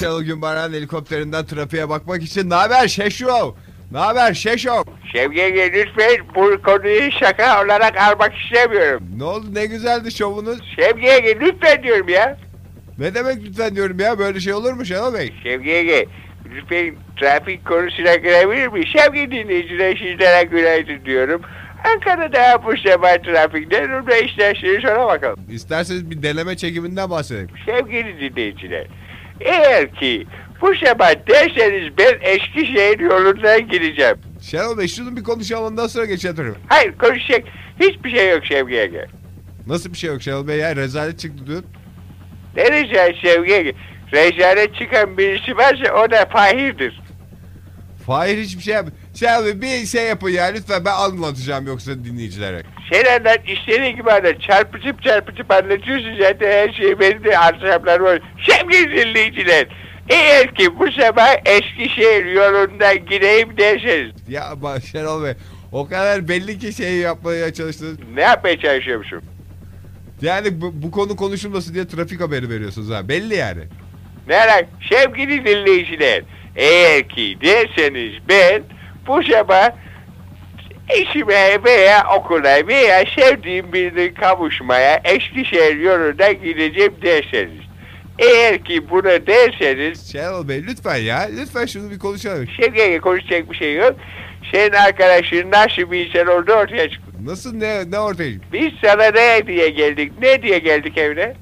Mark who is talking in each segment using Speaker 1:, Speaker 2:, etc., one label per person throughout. Speaker 1: Şenol Günbaran helikopterinden trafiğe bakmak için. Ne haber Şeşov? Ne haber Şeşov?
Speaker 2: Sevgili lütfen bu konuyu şaka olarak almak istemiyorum.
Speaker 1: Ne oldu ne güzeldi şovunuz?
Speaker 2: Sevgili lütfen diyorum ya.
Speaker 1: Ne demek lütfen diyorum ya böyle şey olur mu Şenol Bey?
Speaker 2: Sevgili lütfen trafik konusuna girebilir miyim? Sevgili dinleyiciler sizlere günaydın diyorum. Ankara'da bu sefer trafikte ne isterseniz ona bakalım.
Speaker 1: İsterseniz bir deneme çekiminden bahsedelim.
Speaker 2: Sevgili dinleyiciler, eğer ki bu sefer derseniz ben Eskişehir yolundan gideceğim.
Speaker 1: Şenol Bey şunu bir konuşalım ondan sonra geçelim.
Speaker 2: Hayır konuşacak hiçbir şey yok Sevgi Ege.
Speaker 1: Nasıl bir şey yok Şenol Bey ya rezalet çıktı dün.
Speaker 2: Ne rica Sevgi Ege? Rezalet çıkan birisi varsa o da Fahir'dir.
Speaker 1: Fahir hiçbir şey yapmıyor. Şenol Bey bir şey yapın ya lütfen ben anlatacağım yoksa dinleyicilere.
Speaker 2: Sen anlat istediğin gibi anlat. Çarpıcıp çarpıcıp anlatıyorsun zaten her şeyi benim de anlayacağımlar var. Sevgili dinleyiciler. Eğer ki bu sefer Eskişehir yolundan gideyim derseniz
Speaker 1: Ya bak Şenol Bey o kadar belli ki şey yapmaya çalıştınız.
Speaker 2: ne yapmaya çalışıyormuşum?
Speaker 1: Yani bu, bu konu konuşulmasın diye trafik haberi veriyorsunuz ha. Belli yani.
Speaker 2: Merak, sevgili dinleyiciler, eğer ki derseniz ben bu sabah eşime veya okula veya sevdiğim birine kavuşmaya Eskişehir yoluna gideceğim derseniz. Eğer ki bunu derseniz,
Speaker 1: Şenol Şey Bey lütfen ya. Lütfen şunu bir konuşalım.
Speaker 2: Şevke'ye konuşacak bir şey yok. Senin arkadaşın nasıl bir insan oldu ortaya çıktı.
Speaker 1: Nasıl ne ne ortaya?
Speaker 2: Biz sana ne diye geldik, ne diye geldik evine?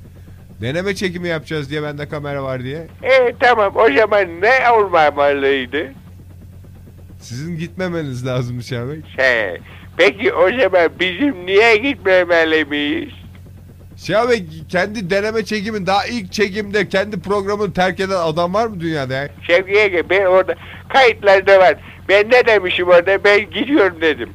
Speaker 1: Deneme çekimi yapacağız diye bende kamera var diye.
Speaker 2: E tamam o zaman ne olmamalıydı?
Speaker 1: Sizin gitmemeniz lazım Şenol Bey.
Speaker 2: He. Peki o zaman bizim niye gitmemeli miyiz?
Speaker 1: Şenol Bey kendi deneme çekimin daha ilk çekimde kendi programını terk eden adam var mı dünyada ya?
Speaker 2: Şevki Ege ben orada kayıtlarda var. Ben ne demişim orada ben gidiyorum dedim.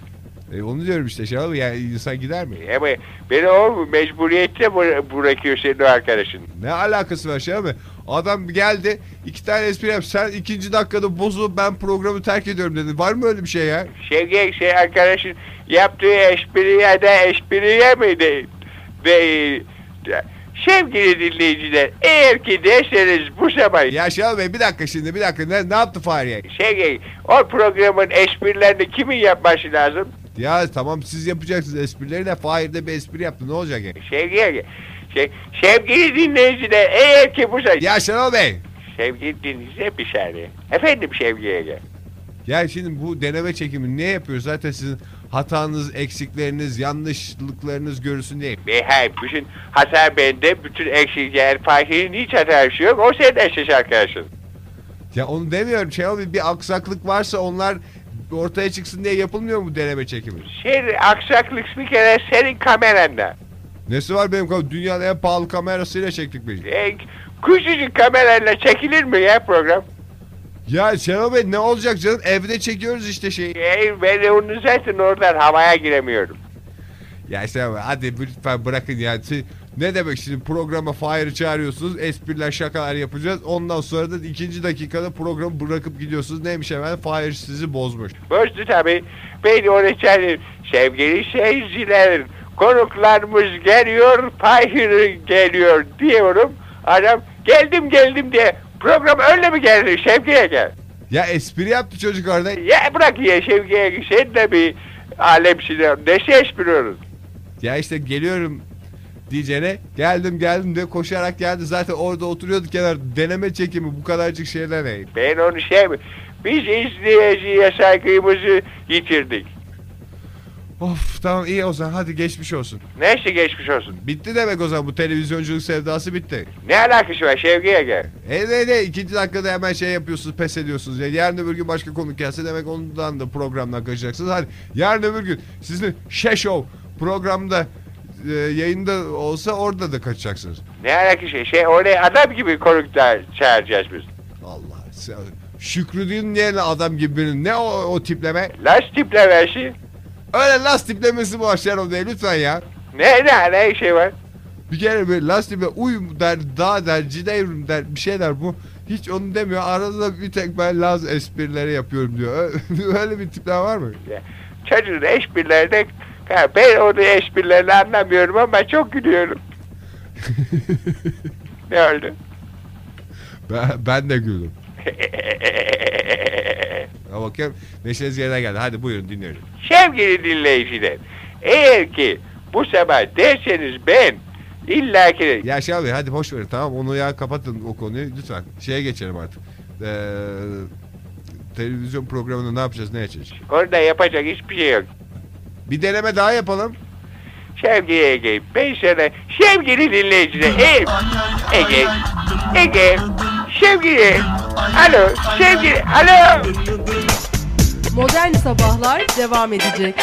Speaker 1: E, onu diyorum işte Şenol Bey yani insan gider mi?
Speaker 2: Ama beni o mu mecburiyetle bıra- bırakıyor senin o arkadaşın.
Speaker 1: Ne alakası var Şenol Bey? Adam geldi iki tane espri yap. Sen ikinci dakikada bozup ben programı terk ediyorum dedi. Var mı öyle bir şey ya?
Speaker 2: Şevki Ege şey arkadaşın yaptığı espriye de espriye miydi? Ve sevgili dinleyiciler eğer ki derseniz bu sabah
Speaker 1: Ya Şenol Bey bir dakika şimdi bir dakika ne, ne yaptı Fahriye?
Speaker 2: Şevki Ege, o programın esprilerini kimin yapması lazım?
Speaker 1: Ya tamam siz yapacaksınız esprileri de Fahir de bir espri yaptı ne olacak yani?
Speaker 2: Sevgili, şey, sevgili dinleyiciler eğer ki bu say-
Speaker 1: Ya Şenol Bey!
Speaker 2: Sevgili dinleyiciler bir saniye. Efendim sevgili Ege.
Speaker 1: Ya şimdi bu deneme çekimi ne yapıyor? Zaten sizin hatanız, eksikleriniz, yanlışlıklarınız görülsün diye.
Speaker 2: Beyhay bütün hata bende, bütün eksikler, fahirin hiç hatası yok. O senin eşleş arkadaşın.
Speaker 1: Ya onu demiyorum Şenol Bey bir aksaklık varsa onlar ortaya çıksın diye yapılmıyor mu deneme çekimi?
Speaker 2: Senin aksaklık bir kere senin kameranda.
Speaker 1: Nesi var benim kam- dünyanın en pahalı kamerasıyla çektik biz.
Speaker 2: E, küçücük kamerayla çekilir mi ya program?
Speaker 1: Ya Şenol Bey ne olacak canım evde çekiyoruz işte şeyi.
Speaker 2: E, ben onu zaten oradan havaya giremiyorum.
Speaker 1: Ya Şenol Bey hadi lütfen bırakın ya. Siz- Ne demek şimdi programa Fahir'i çağırıyorsunuz espriler şakalar yapacağız. Ondan sonra da ikinci dakikada programı bırakıp gidiyorsunuz. Neymiş hemen Fahir sizi bozmuş.
Speaker 2: Bozdu tabii. Beni onu içeri sevgili seyirciler konuklarımız geliyor Fahir geliyor diyorum. Adam geldim geldim diye program öyle mi geldi Şevki'ye gel.
Speaker 1: Ya espri yaptı çocuk orada.
Speaker 2: Ya bırak ya Şevki'ye sen de bir alemsin. Ne ses biliyorsun?
Speaker 1: Ya işte geliyorum diyeceğine geldim geldim de koşarak geldi. Zaten orada oturuyordu kenar deneme çekimi bu kadarcık şeyler ne?
Speaker 2: Ben onu şey Biz izleyiciye saygımızı yitirdik.
Speaker 1: Of tamam iyi o zaman hadi geçmiş olsun.
Speaker 2: Neyse geçmiş olsun.
Speaker 1: Bitti demek o zaman bu televizyonculuk sevdası bitti.
Speaker 2: Ne alakası var Şevki'ye gel.
Speaker 1: E ne ne ikinci dakikada hemen şey yapıyorsunuz pes ediyorsunuz. Ya, yarın öbür gün başka konuk gelse demek ondan da programdan kaçacaksınız. Hadi yarın öbür gün sizin şeşov programda e, yayında olsa orada da kaçacaksınız.
Speaker 2: Ne alakası var? Şey, öyle adam gibi konuklar çağıracağız biz.
Speaker 1: Allah sen- Şükrü Düğün yerine adam gibi birinin ne o, o tipleme?
Speaker 2: Last tiple versin.
Speaker 1: Öyle las tiplemesi bu Şenol Bey lütfen ya.
Speaker 2: Ne ne ne şey var?
Speaker 1: Bir kere böyle las tiple uyum der, dağ der, cineyrim der bir şey der bu. Hiç onu demiyor. Arada bir tek ben laz esprileri yapıyorum diyor. Ö- Öyle bir tipler var mı?
Speaker 2: Çocuğun esprilerine Ha, ben onun esprilerini anlamıyorum ama çok gülüyorum. Ne oldu?
Speaker 1: Ben, ben de güldüm. Ya bakıyorum neşeniz yerine geldi. Hadi buyurun dinliyorum.
Speaker 2: Sevgili dinleyiciler, eğer ki bu sabah derseniz ben illaki
Speaker 1: Ya şey abi hadi boş verin tamam onu ya kapatın o konuyu lütfen. Şeye geçelim artık. Ee, televizyon programında ne yapacağız ne yapacağız?
Speaker 2: orada yapacak hiçbir şey yok.
Speaker 1: Bir deneme daha yapalım.
Speaker 2: Sevgili Ege, ben sana sevgili dinleyiciler, eğer Ege, Ege, sevgili, alo, sevgili, alo.
Speaker 3: Modern Sabahlar devam edecek.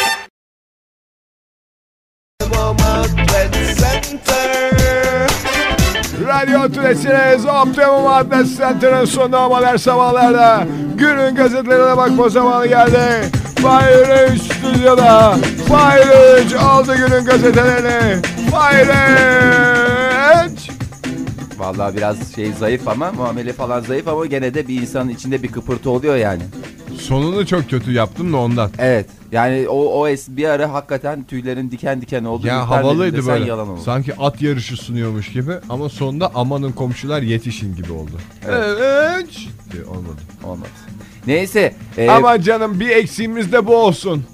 Speaker 1: Radyo Tülesi'niz Optimum Adres Center'ın sonunda haber sabahlarda günün gazetelerine bakma zamanı geldi. Fahir 3 stüdyoda. Fahir 3 aldı günün gazetelerini. Fahir 3.
Speaker 4: Vallahi biraz şey zayıf ama muamele falan zayıf ama gene de bir insanın içinde bir kıpırtı oluyor yani.
Speaker 1: Sonunu çok kötü yaptım da ondan.
Speaker 4: Evet. Yani o o es bir ara hakikaten tüylerin diken diken oldu.
Speaker 1: Ya
Speaker 4: Lütfen
Speaker 1: havalıydı
Speaker 4: desen
Speaker 1: böyle.
Speaker 4: Yalan olur.
Speaker 1: Sanki at yarışı sunuyormuş gibi ama sonunda amanın komşular yetişin gibi oldu.
Speaker 4: Evet.
Speaker 1: Evet.
Speaker 4: Şey,
Speaker 1: Diye Olmadı.
Speaker 4: Olmadı. Neyse. e,
Speaker 1: Ama canım bir eksiğimiz de bu olsun.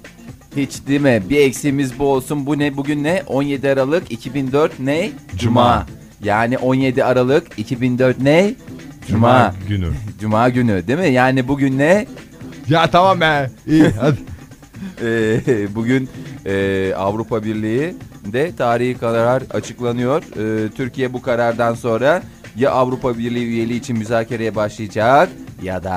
Speaker 4: Hiç değil mi? Bir eksiğimiz bu olsun. Bu ne? Bugün ne? 17 Aralık 2004 ne? Cuma. Yani 17 Aralık 2004 ne? Cuma.
Speaker 1: günü.
Speaker 4: Cuma günü değil mi? Yani bugün ne?
Speaker 1: Ya tamam be. İyi hadi.
Speaker 4: Ee, bugün e, Avrupa Birliği de tarihi karar açıklanıyor. Ee, Türkiye bu karardan sonra ya Avrupa Birliği üyeliği için müzakereye başlayacak ya da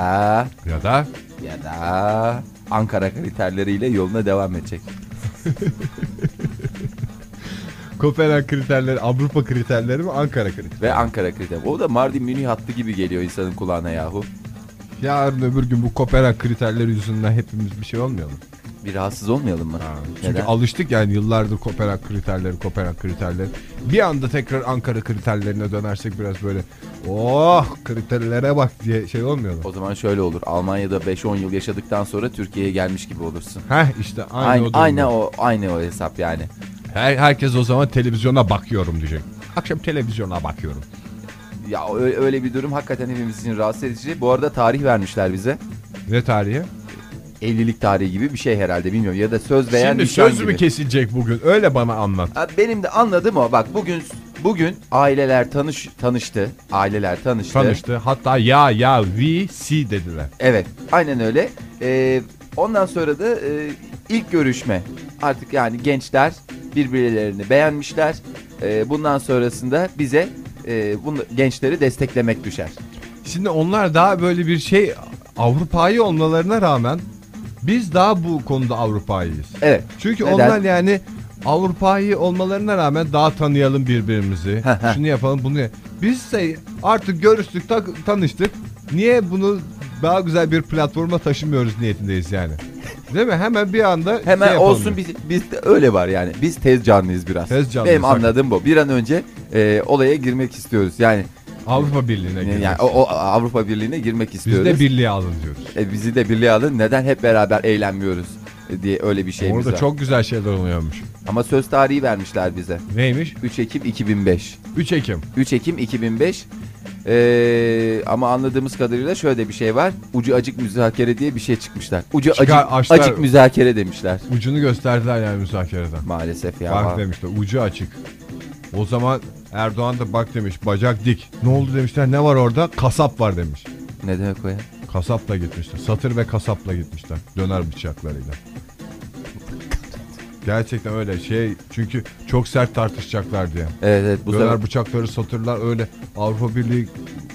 Speaker 1: Ya da
Speaker 4: ya da Ankara kriterleriyle yoluna devam edecek.
Speaker 1: Kopenhag kriterleri, Avrupa kriterleri mi Ankara kriterleri?
Speaker 4: Ve Ankara kriteri. O da Mardin Münih hattı gibi geliyor insanın kulağına yahu.
Speaker 1: Yarın öbür gün bu Kopenhag kriterleri yüzünden hepimiz bir şey olmayalım.
Speaker 4: Bir rahatsız olmayalım mı?
Speaker 1: Çünkü
Speaker 4: Neden?
Speaker 1: alıştık yani yıllardır Kopenhag kriterleri, Kopenhag kriterleri. Bir anda tekrar Ankara kriterlerine dönersek biraz böyle oh kriterlere bak diye şey olmayalım.
Speaker 4: O zaman şöyle olur. Almanya'da 5-10 yıl yaşadıktan sonra Türkiye'ye gelmiş gibi olursun.
Speaker 1: Heh işte aynı,
Speaker 4: Aynı,
Speaker 1: o durum.
Speaker 4: aynı o aynı o hesap yani.
Speaker 1: Her, herkes o zaman televizyona bakıyorum diyecek. Akşam televizyona bakıyorum.
Speaker 4: Ya ö- öyle bir durum hakikaten hepimiz için rahatsız edici. Bu arada tarih vermişler bize.
Speaker 1: Ne tarihi?
Speaker 4: Evlilik tarihi gibi bir şey herhalde bilmiyorum. Ya da söz veya
Speaker 1: Şimdi
Speaker 4: nişan
Speaker 1: söz mü
Speaker 4: gibi.
Speaker 1: kesilecek bugün? Öyle bana anlat.
Speaker 4: Ha, Benim de anladığım o. Bak bugün bugün aileler tanış tanıştı. Aileler tanıştı.
Speaker 1: Tanıştı. Hatta ya ya VC dediler.
Speaker 4: Evet. Aynen öyle. Ee, ondan sonra da e, ilk görüşme. Artık yani gençler birbirlerini beğenmişler. Ee, bundan sonrasında bize e, bunu, gençleri desteklemek düşer.
Speaker 1: Şimdi onlar daha böyle bir şey Avrupa'yı olmalarına rağmen biz daha bu konuda Avrupa'yız.
Speaker 4: Evet.
Speaker 1: Çünkü
Speaker 4: Neden?
Speaker 1: onlar yani Avrupa'yı olmalarına rağmen daha tanıyalım birbirimizi. Şunu yapalım bunu. yap- Biz de artık görüştük, tak- tanıştık. Niye bunu daha güzel bir platforma taşımıyoruz niyetindeyiz yani. Değil mi? Hemen bir anda
Speaker 4: Hemen
Speaker 1: şey yapalım
Speaker 4: olsun
Speaker 1: diyor.
Speaker 4: biz, bizde öyle var yani. Biz tez canlıyız biraz.
Speaker 1: Tez canlıyız,
Speaker 4: Benim anladığım bu. Bir an önce e, olaya girmek istiyoruz. Yani,
Speaker 1: Avrupa Birliği'ne E, girmek.
Speaker 4: yani o, o Avrupa Birliği'ne girmek
Speaker 1: biz
Speaker 4: istiyoruz.
Speaker 1: de birliğe alın diyoruz.
Speaker 4: E, bizi de birliğe alın. Neden hep beraber eğlenmiyoruz e, diye öyle bir şeyimiz
Speaker 1: Orada
Speaker 4: var.
Speaker 1: çok güzel şeyler oluyormuş.
Speaker 4: Ama söz tarihi vermişler bize.
Speaker 1: Neymiş?
Speaker 4: 3 Ekim 2005.
Speaker 1: 3 Ekim.
Speaker 4: 3 Ekim 2005. Ee, ama anladığımız kadarıyla şöyle bir şey var. Ucu acık müzakere diye bir şey çıkmışlar. Ucu
Speaker 1: Çıkar-
Speaker 4: acık,
Speaker 1: açlar-
Speaker 4: acık müzakere demişler.
Speaker 1: Ucunu gösterdiler yani müzakereden.
Speaker 4: Maalesef ya.
Speaker 1: Bak demişler ucu açık. O zaman Erdoğan da bak demiş bacak dik. Ne oldu demişler ne var orada? Kasap var demiş.
Speaker 4: Ne demek o ya?
Speaker 1: Kasapla gitmişler. Satır ve kasapla gitmişler. Döner bıçaklarıyla. Gerçekten öyle şey çünkü çok sert tartışacaklar diye.
Speaker 4: Evet evet bu
Speaker 1: Döner
Speaker 4: sefer
Speaker 1: bıçakları satırlar öyle Avrupa Birliği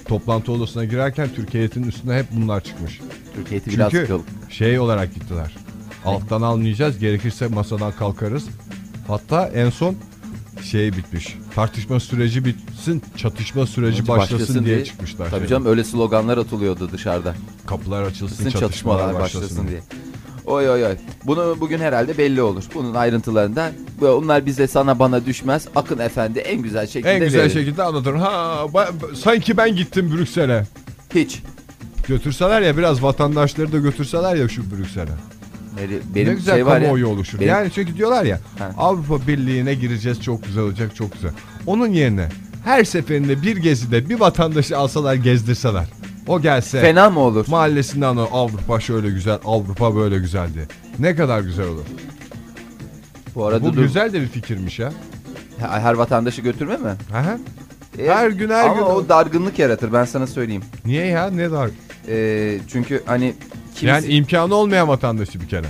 Speaker 1: toplantı odasına girerken Türkiye heyetinin üstüne hep bunlar çıkmış.
Speaker 4: Türkiye heyeti biraz
Speaker 1: Çünkü
Speaker 4: kıl.
Speaker 1: şey olarak gittiler. Alttan almayacağız. Gerekirse masadan kalkarız. Hatta en son şey bitmiş. Tartışma süreci bitsin, çatışma süreci başlasın, diye, çıkmışlar.
Speaker 4: Tabii
Speaker 1: Şey,
Speaker 4: canım öyle sloganlar atılıyordu dışarıda.
Speaker 1: Kapılar açılsın,
Speaker 4: Sizin
Speaker 1: çatışmalar,
Speaker 4: çatışmalar
Speaker 1: başlasın,
Speaker 4: başlasın
Speaker 1: diye.
Speaker 4: diye. Oy oy oy. Bunu bugün herhalde belli olur. Bunun ayrıntılarında onlar bize sana bana düşmez. Akın Efendi en güzel şekilde
Speaker 1: En güzel
Speaker 4: verir.
Speaker 1: şekilde anlatırım. Ha, ba- sanki ben gittim Brüksel'e.
Speaker 4: Hiç.
Speaker 1: Götürseler ya biraz vatandaşları da götürseler ya şu Brüksel'e.
Speaker 4: Benim, benim
Speaker 1: ne güzel
Speaker 4: şey var ya.
Speaker 1: kamuoyu oluşur.
Speaker 4: benim-
Speaker 1: Yani çünkü diyorlar ya
Speaker 4: Ha.
Speaker 1: Avrupa Birliği'ne gireceğiz çok güzel olacak çok güzel. Onun yerine her seferinde bir gezide bir vatandaşı alsalar gezdirseler. O gelse
Speaker 4: Fena mı olur?
Speaker 1: mahallesinden o Avrupa şöyle güzel, Avrupa böyle güzeldi. Ne kadar güzel olur.
Speaker 4: Bu arada
Speaker 1: Bu
Speaker 4: dur.
Speaker 1: güzel de bir fikirmiş ya.
Speaker 4: Ha- Her vatandaşı götürme mi?
Speaker 1: Hı hı.
Speaker 4: E,
Speaker 1: Her gün, her
Speaker 4: ama
Speaker 1: gün.
Speaker 4: o dargınlık yaratır ben sana söyleyeyim.
Speaker 1: Niye ya? Ne dar?
Speaker 4: E, çünkü hani kimisi...
Speaker 1: Yani imkanı olmayan vatandaşı bir kere.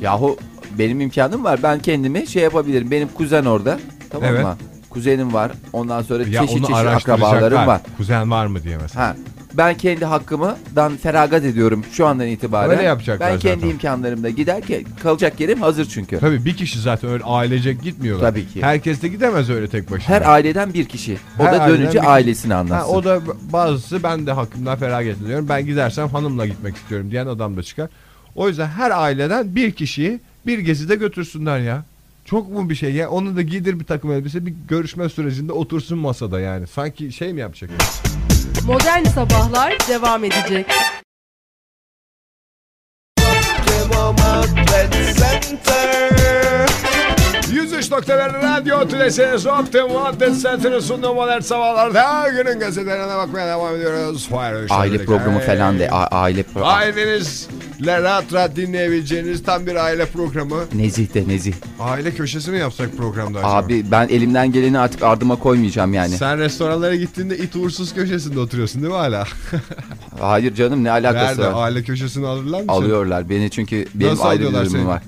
Speaker 4: Yahu benim imkanım var. Ben kendimi şey yapabilirim. Benim kuzen orada. Tamam
Speaker 1: Evet.
Speaker 4: mı? Kuzenim var. Ondan sonra
Speaker 1: Ya
Speaker 4: çeşit
Speaker 1: onu
Speaker 4: çeşit akrabalarım var.
Speaker 1: araştıracaklar. Kuzen var mı diye mesela.
Speaker 4: Ha. Ben kendi hakkımdan feragat ediyorum şu andan itibaren.
Speaker 1: Öyle yapacaklar
Speaker 4: Ben kendi
Speaker 1: zaten.
Speaker 4: imkanlarımda giderken kalacak yerim hazır çünkü.
Speaker 1: Tabii bir kişi zaten öyle ailecek gitmiyorlar.
Speaker 4: Tabii ki.
Speaker 1: Herkes de gidemez öyle tek başına.
Speaker 4: Her aileden bir kişi. O
Speaker 1: Her
Speaker 4: da
Speaker 1: aileden bir
Speaker 4: dönünce
Speaker 1: kişi.
Speaker 4: ailesini
Speaker 1: Ha,
Speaker 4: anlatsın.
Speaker 1: o da bazısı ben de hakkımdan feragat ediyorum. Ben gidersem hanımla gitmek istiyorum diyen adam da çıkar. O yüzden her aileden bir kişiyi bir gezide götürsünler ya. Çok mu bir şey ya? Onu da giydir bir takım elbise bir görüşme sürecinde otursun masada yani. Sanki şey mi yapacak?
Speaker 3: Modern Sabahlar devam edecek.
Speaker 1: Center. 103.1 Radyo Tülesi'niz Optim Wanted Center'ın sunduğu modern sabahlarda günün gazetelerine bakmaya devam ediyoruz. Fire Öğüşler'le
Speaker 4: Aile programı
Speaker 1: birlikte.
Speaker 4: falan de. A- aile pro-
Speaker 1: Ailenizle rahat rahat dinleyebileceğiniz tam bir aile programı.
Speaker 4: Nezih de nezih.
Speaker 1: Aile köşesi mi yapsak programda acaba?
Speaker 4: Abi ben elimden geleni artık ardıma koymayacağım yani.
Speaker 1: Sen restoranlara gittiğinde it uğursuz köşesinde oturuyorsun değil mi hala?
Speaker 4: Hayır canım ne alakası
Speaker 1: Nerede?
Speaker 4: var?
Speaker 1: Aile köşesini alırlar mı? seni?
Speaker 4: Alıyorlar beni çünkü benim
Speaker 1: Nasıl
Speaker 4: aile
Speaker 1: alıyorlar
Speaker 4: bölümüm
Speaker 1: seni?
Speaker 4: var.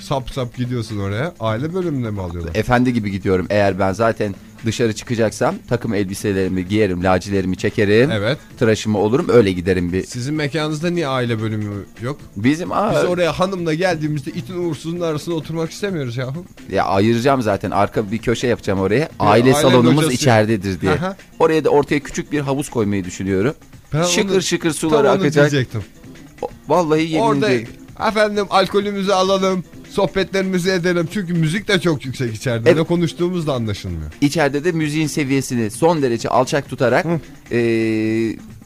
Speaker 1: Sap sap gidiyorsun oraya. Aile bölümüne mi alıyorlar?
Speaker 4: Efendi gibi gidiyorum. Eğer ben zaten dışarı çıkacaksam takım elbiselerimi giyerim, lacilerimi çekerim,
Speaker 1: Evet.
Speaker 4: tıraşımı olurum öyle giderim bir.
Speaker 1: Sizin mekanınızda niye aile bölümü yok?
Speaker 4: Bizim aa,
Speaker 1: Biz oraya hanımla geldiğimizde itin uğursuzun arasında oturmak istemiyoruz yahu.
Speaker 4: ya ayıracağım zaten arka bir köşe yapacağım oraya. Aile
Speaker 1: aile
Speaker 4: salonumuz
Speaker 1: locası.
Speaker 4: içeridedir diye.
Speaker 1: Aha.
Speaker 4: Oraya da ortaya küçük bir havuz koymayı düşünüyorum.
Speaker 1: Ben
Speaker 4: şıkır
Speaker 1: onu-
Speaker 4: şıkır
Speaker 1: Tam onu
Speaker 4: suları akacak.
Speaker 1: diyecektim.
Speaker 4: O- Vallahi yemin
Speaker 1: Orada
Speaker 4: ediyorum.
Speaker 1: efendim alkolümüzü alalım, sohbetlerimizi edelim. Çünkü müzik de çok yüksek içeride.
Speaker 4: Evet.
Speaker 1: Ne konuştuğumuz da anlaşılmıyor.
Speaker 4: İçeride de müziğin seviyesini son derece alçak tutarak eee,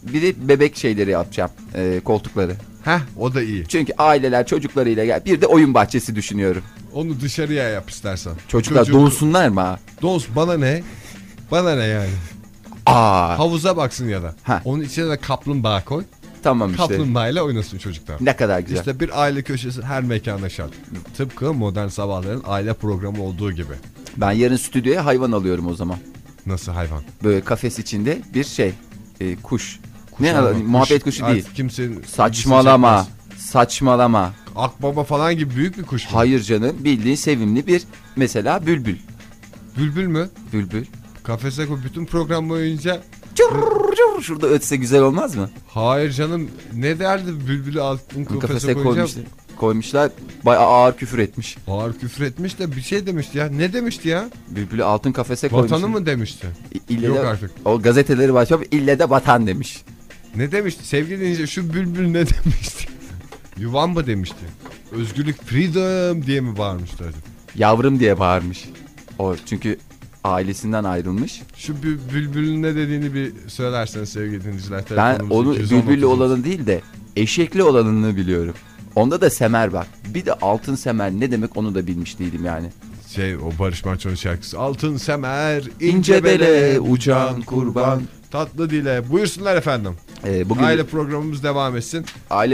Speaker 4: bir de bebek şeyleri yapacağım. eee, koltukları.
Speaker 1: Heh o da iyi.
Speaker 4: Çünkü aileler çocuklarıyla gel. Bir de oyun bahçesi düşünüyorum.
Speaker 1: Onu dışarıya yap istersen.
Speaker 4: Çocuklar
Speaker 1: Çocuğu-
Speaker 4: doğsunlar mı? ha?
Speaker 1: Dons bana ne? Bana ne yani?
Speaker 4: Aa,
Speaker 1: Havuza baksın ya da.
Speaker 4: Ha.
Speaker 1: Onun içine de kaplumbağa koy.
Speaker 4: tamam işte.
Speaker 1: Kaplumbağayla oynasın çocuklar.
Speaker 4: Ne kadar güzel.
Speaker 1: İşte bir aile köşesi her mekanda şart. Tıpkı modern sabahların aile programı olduğu gibi.
Speaker 4: Ben yarın stüdyoya hayvan alıyorum o zaman.
Speaker 1: Nasıl hayvan?
Speaker 4: Böyle kafes içinde bir şey, e, kuş. ne
Speaker 1: Kuşlar
Speaker 4: ala-
Speaker 1: mı? Kuş.
Speaker 4: muhabbet kuşu
Speaker 1: Artık
Speaker 4: değil.
Speaker 1: Kimsenin ilgisini
Speaker 4: Saçmalama.
Speaker 1: çekmez.
Speaker 4: Saçmalama.
Speaker 1: Akbaba falan gibi büyük bir kuş mu?
Speaker 4: Hayır canım, bildiğin sevimli bir mesela bülbül.
Speaker 1: Bülbül mü?
Speaker 4: Bülbül.
Speaker 1: Kafese koy bütün program boyunca
Speaker 4: Cırr, cırr, şurada ötse güzel olmaz mı?
Speaker 1: Hayır canım ne derdi bülbülü altın kafese,
Speaker 4: Kafese
Speaker 1: koyunca
Speaker 4: koymuşlar. Koymuşlar. Bayağı ağır küfür etmiş.
Speaker 1: ağır küfür etmiş de bir şey demişti ya. Ne demişti ya?
Speaker 4: Bülbülü altın kafese koymuş.
Speaker 1: Vatanı mı demişti?
Speaker 4: İlle
Speaker 1: Yok
Speaker 4: de-
Speaker 1: artık.
Speaker 4: O gazeteleri başlayıp ille de vatan demiş.
Speaker 1: Ne demişti? Sevgili dinleyiciler şu bülbül ne demişti? Yuvan mı demişti? Özgürlük freedom diye mi bağırmıştı acaba?
Speaker 4: Yavrum diye bağırmış. O çünkü ailesinden ayrılmış.
Speaker 1: Şu bü- bülbülün ne dediğini bir söylerseniz sevgili dinleyiciler.
Speaker 4: Ben
Speaker 1: Telefonumuz
Speaker 4: onu
Speaker 1: 210 30.
Speaker 4: bülbüllü olanı değil de eşekli olanını biliyorum. Onda da semer bak. Bir de altın semer ne demek onu da bilmiş değilim yani.
Speaker 1: Şey o Barış Manço'nun şarkısı. Altın semer, ince
Speaker 4: İnce bele,
Speaker 1: bele,
Speaker 4: uçan kurban.
Speaker 1: Tatlı dile. Buyursunlar efendim.
Speaker 4: Ee, bugün
Speaker 1: Aile
Speaker 4: aile,
Speaker 1: programımız devam etsin.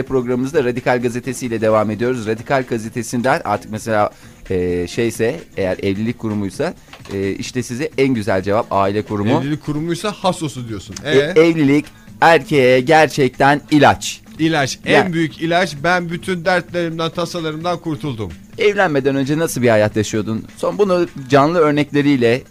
Speaker 4: programımızda Radikal Gazetesi ile devam ediyoruz. Radikal Gazetesi'nden artık mesela e, şeyse eğer evlilik kurumuysa e, işte size en güzel cevap aile kurumu.
Speaker 1: Evlilik kurumuysa hasosu diyorsun.
Speaker 4: E,
Speaker 1: Ee,
Speaker 4: evlilik erkeğe gerçekten ilaç.
Speaker 1: ilaç, en
Speaker 4: Yani-
Speaker 1: büyük ilaç. Ben bütün dertlerimden, tasalarımdan kurtuldum.
Speaker 4: Evlenmeden önce nasıl bir hayat yaşıyordun? Son bunu canlı örnekleriyle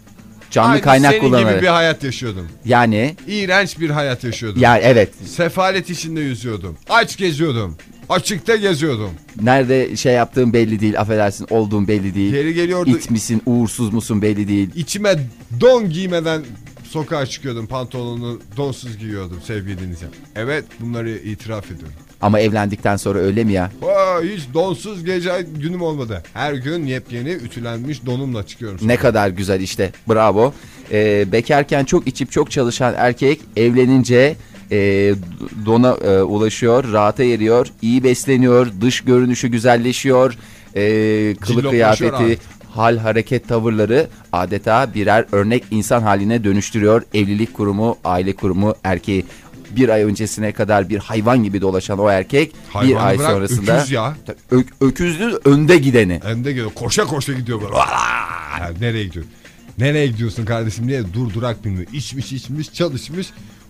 Speaker 4: canlı
Speaker 1: Aynı
Speaker 4: kaynak
Speaker 1: senin gibi
Speaker 4: kullanarak.
Speaker 1: bir hayat yaşıyordum.
Speaker 4: Yani
Speaker 1: İğrenç bir hayat yaşıyordum.
Speaker 4: yani evet
Speaker 1: Sefalet içinde yüzüyordum. Aç geziyordum. Açıkta geziyordum.
Speaker 4: nerede şey yaptığın belli değil affedersin olduğun belli değil.
Speaker 1: Geri geliyordu.
Speaker 4: İt misin uğursuz musun belli değil.
Speaker 1: İçime don giymeden sokağa çıkıyordum. Pantolonu donsuz giyiyordum sevgili dinleyiciler. Evet bunları itiraf ediyorum.
Speaker 4: Ama evlendikten sonra öyle mi ya?
Speaker 1: Aa, hiç donsuz gece günüm olmadı. Her gün yepyeni ütülenmiş donumla çıkıyorum.
Speaker 4: Ne kadar güzel işte bravo. Ee, bekarken çok içip çok çalışan erkek evlenince e, dona e, ulaşıyor, rahata eriyor, iyi besleniyor, dış görünüşü güzelleşiyor, e, kılık
Speaker 1: Cilloplaşıyor
Speaker 4: kıyafeti,
Speaker 1: abi.
Speaker 4: hal hareket tavırları adeta birer örnek insan haline dönüştürüyor evlilik kurumu, aile kurumu erkeği. Bir ay öncesine kadar bir hayvan gibi dolaşan o erkek
Speaker 1: Hayvanı
Speaker 4: bir ay
Speaker 1: bırak,
Speaker 4: sonrasında
Speaker 1: öküz ya.
Speaker 4: Ö- öküzdü önde gideni.
Speaker 1: Önde geliyor. Koşa koşa gidiyor böyle. Aa! Nereye gidiyor? Nereye gidiyorsun kardeşim diye dur durak bilmiyor. İçmiş içmiş çalışmış.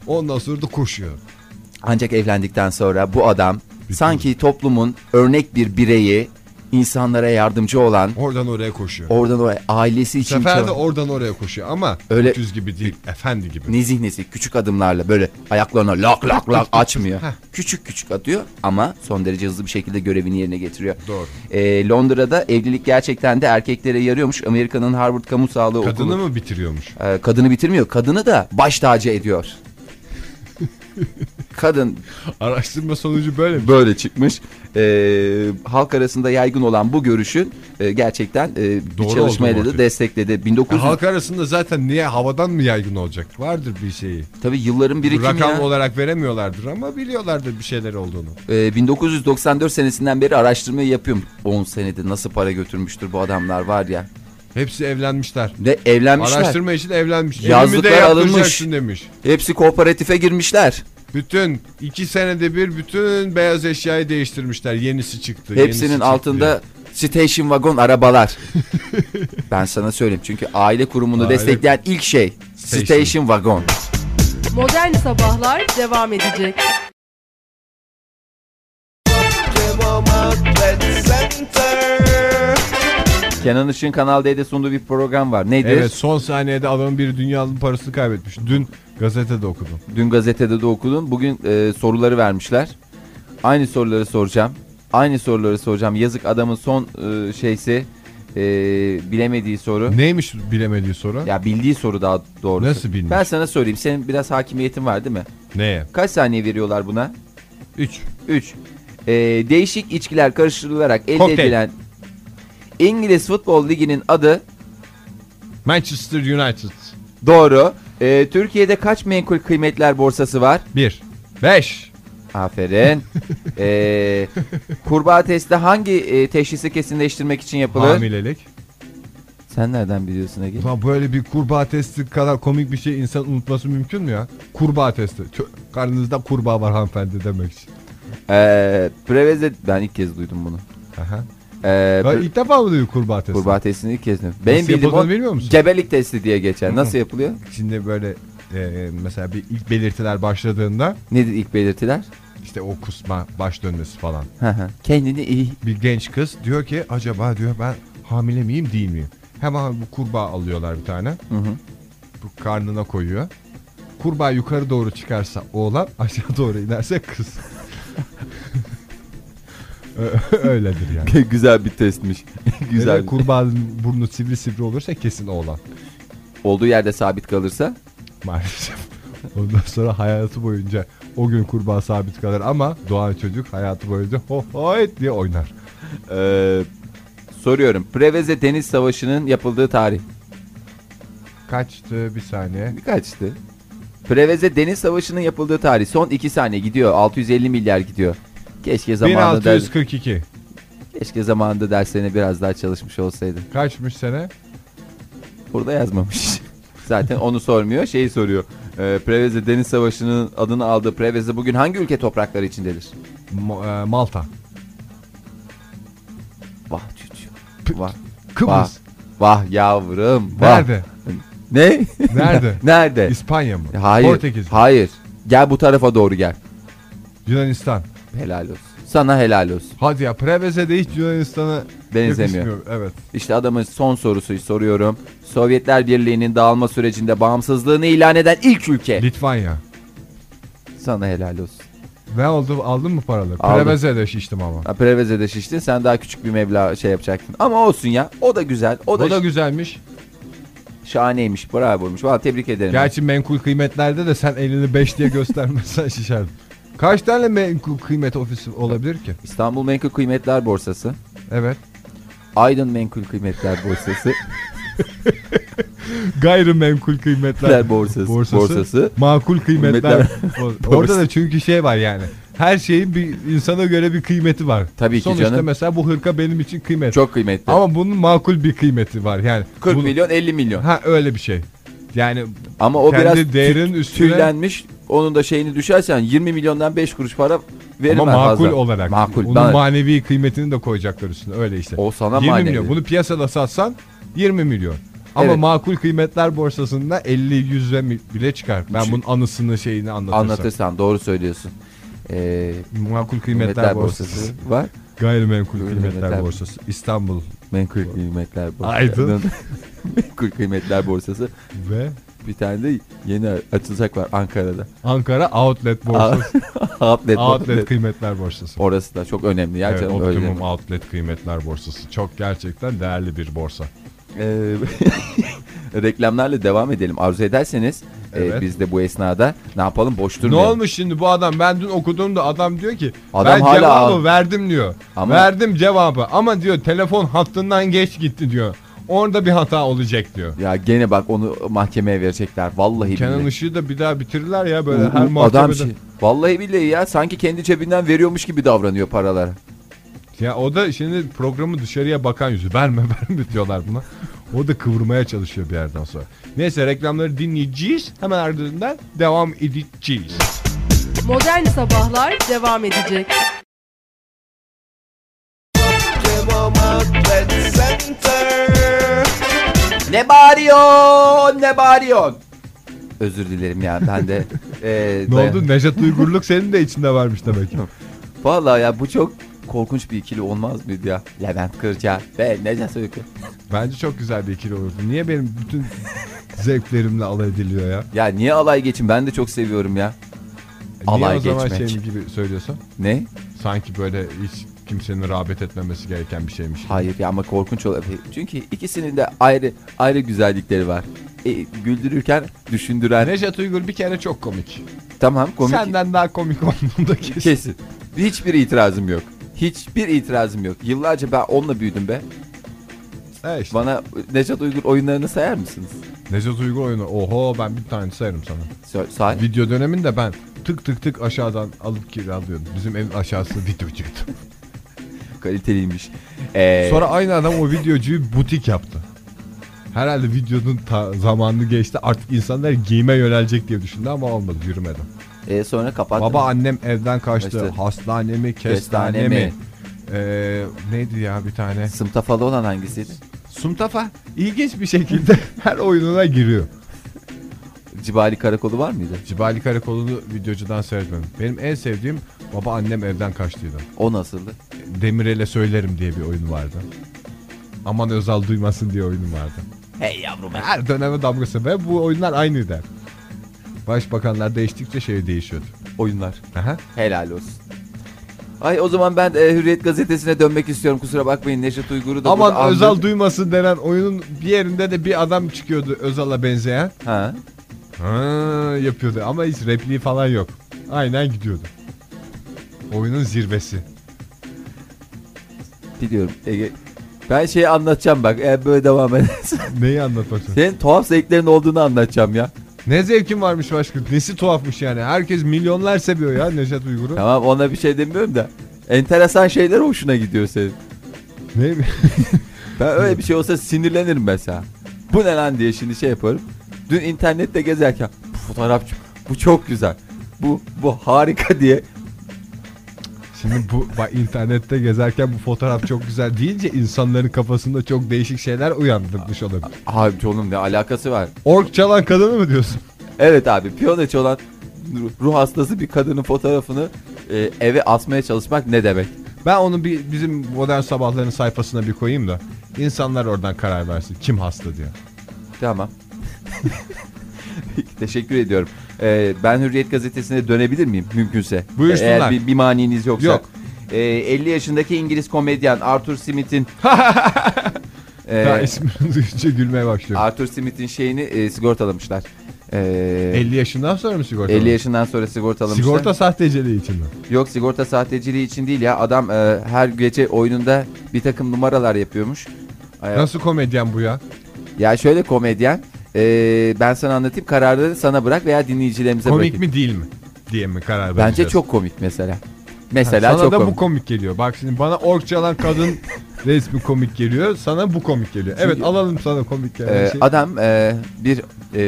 Speaker 1: Ondan sonra da koşuyor.
Speaker 4: Ancak evlendikten sonra bu adam sanki toplumun örnek bir bireyi insanlara yardımcı olan
Speaker 1: Oradan oraya koşuyor.
Speaker 4: oradan oraya ailesi
Speaker 1: Bu
Speaker 4: için
Speaker 1: Sefer de
Speaker 4: çaba-
Speaker 1: oradan oraya koşuyor ama
Speaker 4: Öyle-
Speaker 1: öküz gibi değil. Efendi gibi.
Speaker 4: nezih nezih küçük adımlarla böyle ayaklarına lak lak lak açmıyor.
Speaker 1: Heh.
Speaker 4: küçük küçük atıyor ama son derece hızlı bir şekilde görevini yerine getiriyor.
Speaker 1: Doğru.
Speaker 4: Ee, Londra'da evlilik gerçekten de erkeklere yarıyormuş. Amerika'nın Harvard Kamu Sağlığı Okulu.
Speaker 1: Kadını mı bitiriyormuş?
Speaker 4: Ee, kadını bitirmiyor. Kadını da baş tacı ediyor. Kadın
Speaker 1: Araştırma sonucu böyle mi?
Speaker 4: böyle çıkmış. Ee, halk arasında yaygın olan bu görüşün e, gerçekten e, bir
Speaker 1: Doğru
Speaker 4: çalışmayla
Speaker 1: olduğu
Speaker 4: da
Speaker 1: ortaya.
Speaker 4: destekledi. 1900
Speaker 1: Ya halk arasında zaten niye havadan mı yaygın olacak? Vardır bir şeyi.
Speaker 4: tabii yılların birikimi.
Speaker 1: Rakam
Speaker 4: ya.
Speaker 1: olarak veremiyorlardır ama biliyorlardır bir şeyler olduğunu.
Speaker 4: Ee, 1994 senesinden beri araştırmayı yapıyorum. 10 senede nasıl para götürmüştür bu adamlar var ya.
Speaker 1: Hepsi evlenmişler.
Speaker 4: Ve evlenmişler.
Speaker 1: Araştırma için evlenmiş. Evimi de
Speaker 4: Yazlıklar
Speaker 1: yaptıracaksın
Speaker 4: alınmış.
Speaker 1: demiş.
Speaker 4: Hepsi kooperatife girmişler.
Speaker 1: Bütün iki senede bir bütün beyaz eşyayı değiştirmişler. Yenisi çıktı. yenisi
Speaker 4: Hepsinin
Speaker 1: çıktı
Speaker 4: altında station wagon arabalar. ben sana söyleyeyim çünkü aile kurumunu
Speaker 1: Aile-
Speaker 4: destekleyen ilk şey station,
Speaker 1: Station
Speaker 4: wagon.
Speaker 3: Modern Sabahlar devam edecek.
Speaker 4: Kenan Işık'ın Kanal D'de sunduğu bir program var. Nedir?
Speaker 1: Evet son saniyede adamın biri dünyanın parasını kaybetmiş. Dün gazetede okudum.
Speaker 4: Dün gazetede de okudun. Bugün e, soruları vermişler. Aynı soruları soracağım. Aynı soruları soracağım. Yazık adamın son e, şeysi e, bilemediği soru.
Speaker 1: Neymiş bilemediği soru?
Speaker 4: Ya bildiği soru daha doğrusu.
Speaker 1: Nasıl bilmiş?
Speaker 4: Ben sana söyleyeyim. Senin biraz hakimiyetin var değil mi?
Speaker 1: Neye?
Speaker 4: Kaç saniye veriyorlar buna?
Speaker 1: 3.
Speaker 4: 3. değişik içkiler karıştırılarak elde
Speaker 1: Kokteyl.
Speaker 4: edilen İngiliz Futbol Ligi'nin adı
Speaker 1: Manchester United.
Speaker 4: doğru. Ee, Türkiye'de kaç menkul kıymetler borsası var?
Speaker 1: 1. 5.
Speaker 4: Aferin. ee, kurbağa testi hangi e, teşhisi kesinleştirmek için yapılır?
Speaker 1: Hamilelik.
Speaker 4: Sen nereden biliyorsun Ege?
Speaker 1: Ulan böyle bir kurbağa testi kadar komik bir şey insan unutması mümkün mü ya? Kurbağa testi. Tö- Karnınızda kurbağa var hanımefendi demek için.
Speaker 4: Ee, Preveze... Ben ilk kez duydum bunu.
Speaker 1: Aha.
Speaker 4: Ee,
Speaker 1: Ben
Speaker 4: pre-
Speaker 1: ilk defa mı duydum kurbağa testi?
Speaker 4: kurbağa testini ilk kez duydum. Benim bildiğim
Speaker 1: yapıldığını
Speaker 4: o
Speaker 1: bilmiyor musun?
Speaker 4: gebelik testi diye geçer. Nasıl yapılıyor?
Speaker 1: Şimdi böyle e, mesela bir ilk belirtiler başladığında
Speaker 4: Nedir ilk belirtiler?
Speaker 1: işte o kusma, baş dönmesi falan.
Speaker 4: Hı hı. Kendini iyi
Speaker 1: Bir genç kız diyor ki acaba diyor ben hamile miyim değil miyim? Hemen bu kurbağa alıyorlar bir tane.
Speaker 4: hı.
Speaker 1: Bu karnına koyuyor. Kurbağa yukarı doğru çıkarsa oğlan aşağı doğru inerse kız. Ö- Öyledir yani.
Speaker 4: Güzel bir testmiş. Güzel.
Speaker 1: Güzel. kurbağanın burnu sivri sivri olursa kesin oğlan
Speaker 4: Olduğu yerde sabit kalırsa
Speaker 1: maalesef. Ondan sonra hayatı boyunca o gün kurbağa sabit kalır ama doğan çocuk hayatı boyunca ho hoyt diye oynar.
Speaker 4: eee, soruyorum. Preveze Deniz Savaşı'nın yapıldığı tarih
Speaker 1: Kaçtı bir saniye.
Speaker 4: kaçtı? Preveze Deniz Savaşı'nın yapıldığı tarih son 2 saniye gidiyor. 650 milyar gidiyor. Keşke zamanında ders-
Speaker 1: 1642.
Speaker 4: keşke zamanında derslerine biraz daha çalışmış olsaydı.
Speaker 1: Kaçmış sene?
Speaker 4: Burada yazmamış. Zaten onu sormuyor, şeyi soruyor. Eee, Preveze Deniz Savaşı'nın adını aldığı Preveze bugün hangi ülke toprakları içindedir?
Speaker 1: Ma- e, Malta.
Speaker 4: Vah çocuğum.
Speaker 1: P-
Speaker 4: Vah. Vah.
Speaker 1: Kıbrıs.
Speaker 4: Vah yavrum. Vah.
Speaker 1: Nerede?
Speaker 4: Ne?
Speaker 1: Nerede?
Speaker 4: Nerede?
Speaker 1: İspanya mı?
Speaker 4: E, Hayır.
Speaker 1: Portekiz. mi?
Speaker 4: Hayır. Gel bu tarafa doğru gel.
Speaker 1: Yunanistan.
Speaker 4: Helal olsun. Sana helal olsun.
Speaker 1: Hadi ya Preveze de hiç Yunanistan'a
Speaker 4: Benzemiyor.
Speaker 1: yakışmıyor. Evet.
Speaker 4: İşte adamın son sorusuyu soruyorum. Sovyetler Birliği'nin dağılma sürecinde bağımsızlığını ilan eden ilk ülke.
Speaker 1: Litvanya.
Speaker 4: Sana helal olsun.
Speaker 1: Ne oldu? Aldın mı paraları?
Speaker 4: Aldım.
Speaker 1: Preveze de şiştim ama.
Speaker 4: Ha, Preveze'de şiştin. Sen daha küçük bir meblağ şey yapacaktın. Ama olsun ya. O da güzel. O
Speaker 1: O
Speaker 4: da,
Speaker 1: da güzelmiş.
Speaker 4: şahaneymiş. Bravoymuş. Valla tebrik ederim.
Speaker 1: Gerçi menkul kıymetlerde de sen elini 5 diye göstermezsen şişerdin. Kaç tane menkul kıymet ofisi olabilir ki?
Speaker 4: İstanbul Menkul Kıymetler Borsası.
Speaker 1: Evet.
Speaker 4: Aydın Menkul Kıymetler Borsası.
Speaker 1: Gayrimenkul kıymetler
Speaker 4: Borsası. Borsası.
Speaker 1: Makul kıymetler.
Speaker 4: Kıymetler.
Speaker 1: Orada da çünkü şey var yani. her şeyin bir insana göre bir kıymeti var.
Speaker 4: Tabii ki
Speaker 1: Sonuçta
Speaker 4: canım.
Speaker 1: mesela bu hırka benim için kıymetli.
Speaker 4: Çok kıymetli.
Speaker 1: Ama bunun makul bir kıymeti var yani.
Speaker 4: 40
Speaker 1: bunu-
Speaker 4: milyon 50 milyon.
Speaker 1: Ha öyle bir şey. Yani
Speaker 4: Ama o
Speaker 1: Kendi
Speaker 4: biraz
Speaker 1: değerinin
Speaker 4: tü-
Speaker 1: üstüne-
Speaker 4: tüylenmiş. Onun da şeyini düşersen 20 milyondan 5 kuruş para verilmez
Speaker 1: ama makul
Speaker 4: fazla.
Speaker 1: olarak.
Speaker 4: Makul.
Speaker 1: Onun
Speaker 4: Bana-
Speaker 1: manevi kıymetini de koyacaklar üstüne öyle işte.
Speaker 4: o sana
Speaker 1: 20
Speaker 4: manevi.
Speaker 1: milyon. Bunu piyasada satsan 20 milyon. Ama
Speaker 4: Evet.
Speaker 1: makul kıymetler borsasında 50 100 ve mi- bile çıkar. Ben
Speaker 4: Çık-
Speaker 1: bunun anısını şeyini anlatırsam.
Speaker 4: Anlatırsan doğru söylüyorsun. Ee,
Speaker 1: Makul kıymetler,
Speaker 4: kıymetler
Speaker 1: borsası.
Speaker 4: borsası var.
Speaker 1: Gayrimenkul
Speaker 4: Gayrimenkul
Speaker 1: kıymetler borsası. İstanbul
Speaker 4: Menkul kıymetler borsası.
Speaker 1: Aydın.
Speaker 4: Menkul kıymetler borsası.
Speaker 1: ve
Speaker 4: Bir tane de yeni açılacak var Ankara'da.
Speaker 1: Ankara Outlet borsası.
Speaker 4: Outlet.
Speaker 1: outlet kıymetler borsası.
Speaker 4: Orası da çok önemli.
Speaker 1: Evet,
Speaker 4: Gerçekten
Speaker 1: Optimum
Speaker 4: öyle.
Speaker 1: Outlet kıymetler borsası. Çok gerçekten değerli bir borsa.
Speaker 4: Ee, reklamlarla devam edelim. Arzu ederseniz e,
Speaker 1: Evet.
Speaker 4: biz de bu esnada ne yapalım boş durmayalım.
Speaker 1: Ne olmuş şimdi bu adam? Ben dün okuduğumda adam diyor ki
Speaker 4: Adam
Speaker 1: ben
Speaker 4: hala-
Speaker 1: cevabı verdim diyor.
Speaker 4: Ama-
Speaker 1: Verdim cevabı ama diyor telefon hattından geç gitti diyor. Orada bir hata olacak diyor.
Speaker 4: Ya gene bak onu mahkemeye verecekler. Vallahi
Speaker 1: Kenan
Speaker 4: billahi.
Speaker 1: Işık'ı da bir daha bitirirler ya böyle
Speaker 4: U- u-
Speaker 1: her muhabbede.
Speaker 4: adam şey. Vallahi billahi ya sanki kendi cebinden veriyormuş gibi davranıyor paralara.
Speaker 1: Ya o da şimdi programı dışarıya bakan yüzü. Verme verme diyorlar buna. O da kıvırmaya çalışıyor bir yerden sonra. Neyse reklamları dinleyeceğiz. Hemen ardından devam edeceğiz.
Speaker 3: Modern Sabahlar devam edecek.
Speaker 4: Ne bağırıyorsun ne bağırıyorsun? Özür dilerim ya ben de. e,
Speaker 1: Ne
Speaker 4: dayan-
Speaker 1: oldu? Nejat Uygurluk senin de içinde varmış demek ki.
Speaker 4: Vallahi ya bu çok korkunç bir ikili olmaz mıydı ya? Levent Kırca ve Necdet Uyku.
Speaker 1: Bence çok güzel bir ikili olurdu. Niye benim bütün zevklerimle alay ediliyor ya?
Speaker 4: Ya niye alay geçin ben de çok seviyorum ya.
Speaker 1: Niye
Speaker 4: Alay
Speaker 1: o zaman
Speaker 4: geçmek.
Speaker 1: şeyim gibi söylüyorsun?
Speaker 4: Ne?
Speaker 1: Sanki böyle hiç kimsenin rağbet etmemesi gereken bir şeymiş.
Speaker 4: Hayır ya ama korkunç olabilir. Çünkü ikisinin de ayrı ayrı güzellikleri var. E, güldürürken düşündüren.
Speaker 1: Nejat Uygur bir kere çok komik.
Speaker 4: Tamam komik.
Speaker 1: Senden daha komik olduğunu da kesin.
Speaker 4: Kesin. Hiçbir itirazım yok. Hiçbir itirazım yok. Yıllarca ben onunla büyüdüm be.
Speaker 1: E işte.
Speaker 4: Bana Necat Uygur oyunlarını sayar mısınız?
Speaker 1: Nejat Uygur oyunu. Oho ben bir tane sayarım sana.
Speaker 4: Sö- say.
Speaker 1: Video döneminde ben tık tık tık aşağıdan alıp kiralıyordum. Bizim evin aşağısı videocuydu.
Speaker 4: Kaliteliymiş. Ee,
Speaker 1: Sonra aynı adam o videocuyu butik yaptı. Herhalde videonun ta- zamanı geçti. Artık insanlar giyime yönelecek diye düşündü ama olmadı yürümedi.
Speaker 4: e, sonra kapattı.
Speaker 1: Baba annem evden kaçtı.
Speaker 4: Kaçtı.
Speaker 1: Hastane mi, kestane,
Speaker 4: Kestane
Speaker 1: mi?
Speaker 4: mi?
Speaker 1: Ee, neydi ya bir tane?
Speaker 4: Sımta falan olan hangisiydi?
Speaker 1: Sumtafa ilginç bir şekilde her oyununa giriyor.
Speaker 4: Cibali Karakolu var mıydı?
Speaker 1: Cibali Karakolu'nu videocudan seyretmedim. Benim en sevdiğim baba annem evden kaçtıydı.
Speaker 4: O nasıldı?
Speaker 1: Demirel'e söylerim diye bir oyun vardı. Aman Özal duymasın diye oyun vardı.
Speaker 4: Hey yavrum.
Speaker 1: Her döneme damgası ve bu oyunlar aynıydı. Başbakanlar değiştikçe şey değişiyordu.
Speaker 4: Oyunlar.
Speaker 1: Aha.
Speaker 4: Helal olsun. Ay o zaman ben e, Hürriyet gazetesine dönmek istiyorum. Kusura bakmayın Neşet Uygur'u da burada
Speaker 1: Aman
Speaker 4: andım.
Speaker 1: Özal duymasın denen oyunun bir yerinde de bir adam çıkıyordu Özal'a benzeyen.
Speaker 4: Ha.
Speaker 1: Ha, yapıyordu ama hiç repliği falan yok. Aynen gidiyordu. Oyunun zirvesi.
Speaker 4: Biliyorum. Ege. Ben şeyi anlatacağım bak. Eğer böyle devam edersen.
Speaker 1: Neyi anlatmasın?
Speaker 4: Senin tuhaf zevklerin olduğunu anlatacağım ya.
Speaker 1: Ne zevkin varmış başka? Nesi tuhafmış yani? Herkes milyonlar seviyor ya Nejat Uygur'u.
Speaker 4: Tamam ona bir şey demiyorum da. Enteresan şeyler hoşuna gidiyor senin.
Speaker 1: Ne?
Speaker 4: Ben öyle bir şey olsa sinirlenirim mesela. Bu ne lan diye şimdi şey yaparım. Dün internette gezerken bu fotoğrafçı bu çok güzel. Bu bu harika diye.
Speaker 1: Şimdi bu bak internette gezerken bu fotoğraf çok güzel deyince insanların kafasında çok değişik şeyler uyandırmış olabilir.
Speaker 4: Abi oğlum ne alakası var?
Speaker 1: Ork çalan kadını mı diyorsun?
Speaker 4: Evet abi piyano çalan ruh hastası bir kadının fotoğrafını e, eve asmaya çalışmak ne demek?
Speaker 1: Ben onu bir bizim modern sabahların sayfasına bir koyayım da insanlar oradan karar versin kim hasta diye.
Speaker 4: Tamam. Peki, Teşekkür ediyorum. Ee, ben Hürriyet Gazetesi'ne dönebilir miyim mümkünse?
Speaker 1: Buyursunlar.
Speaker 4: Eğer bir, bir maniniz yoksa.
Speaker 1: Yok.
Speaker 4: Ee, 50 yaşındaki İngiliz komedyen Arthur Smith'in Ee,
Speaker 1: Daha ismini duyunca gülmeye başlıyorum.
Speaker 4: Arthur Smith'in şeyini e, sigortalamışlar. Ee, 50,
Speaker 1: 50 yaşından sonra mı sigorta?
Speaker 4: yaşından sonra sigortalamışlar.
Speaker 1: Sigorta sahteciliği için mi?
Speaker 4: Yok sigorta sahteciliği için değil ya. Adam e, her gece oyununda bir takım numaralar yapıyormuş. Ee,
Speaker 1: Nasıl komedyen bu ya?
Speaker 4: Ya şöyle komedyen. e, ben sana anlatayım kararları sana bırak veya dinleyicilerimize
Speaker 1: Komik
Speaker 4: bırakayım.
Speaker 1: mi değil mi? diye mi karar vereceğiz?
Speaker 4: Bence çok komik mesela.
Speaker 1: Ha,
Speaker 4: Mesela
Speaker 1: Sana
Speaker 4: çok
Speaker 1: da
Speaker 4: komik.
Speaker 1: bu komik geliyor. Bak şimdi bana ork çalan kadın resmi komik geliyor. Sana bu komik geliyor. Evet
Speaker 4: Çünkü-
Speaker 1: alalım sana komik gelen
Speaker 4: Ee,
Speaker 1: şey.
Speaker 4: adam e, bir e,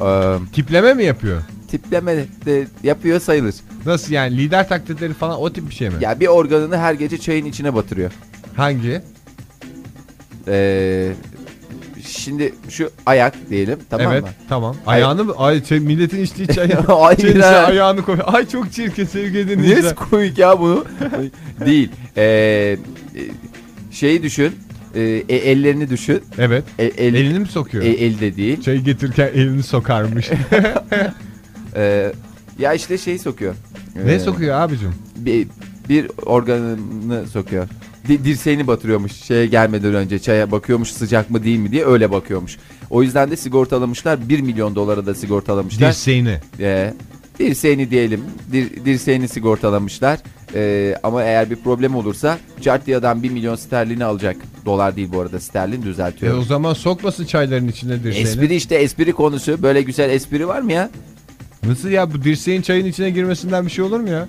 Speaker 4: e,
Speaker 1: Tipleme mi yapıyor?
Speaker 4: tipleme de yapıyor sayılır.
Speaker 1: Nasıl yani lider taklitleri falan o tip bir şey mi?
Speaker 4: Ya bir organını her gece çayın içine batırıyor.
Speaker 1: Hangi?
Speaker 4: Ee, şimdi şu ayak diyelim tamam
Speaker 1: evet
Speaker 4: mı?
Speaker 1: tamam. Ayağını mı? Ay şey, milletin içtiği çay
Speaker 4: Hayır,
Speaker 1: Çay içine
Speaker 4: ha.
Speaker 1: ayağını koy. Ay çok çirkin sevgili
Speaker 4: Niye
Speaker 1: dinleyiciler.
Speaker 4: komik ya bunu? Değil. Ee, e, şeyi düşün. Ee, e, ellerini düşün.
Speaker 1: Evet.
Speaker 4: E, el,
Speaker 1: Elini mi sokuyor?
Speaker 4: e, elde değil.
Speaker 1: Çay getirirken elini sokarmış.
Speaker 4: Ee, ya işte şeyi sokuyor.
Speaker 1: ne
Speaker 4: Ee,
Speaker 1: sokuyor abicim?
Speaker 4: Bir, bir organını sokuyor. Di- dirseğini batırıyormuş şeye gelmeden önce çaya bakıyormuş sıcak mı değil mi diye öyle bakıyormuş. O yüzden de sigortalamışlar 1 milyon dolara da sigortalamışlar.
Speaker 1: Dirseğini.
Speaker 4: Ee, dirseğini diyelim. dir- dirseğini sigortalamışlar. Ee, ama eğer bir problem olursa cart diye adam 1 milyon sterlini alacak. Dolar değil bu arada sterlin
Speaker 1: E o
Speaker 4: düzeltiyor.
Speaker 1: zaman sokmasın çayların içine dirseğini.
Speaker 4: espri işte espri konusu. Böyle güzel espri var mı ya?
Speaker 1: Nasıl ya bu dirseğin çayın içine girmesinden bir şey olur mu ya?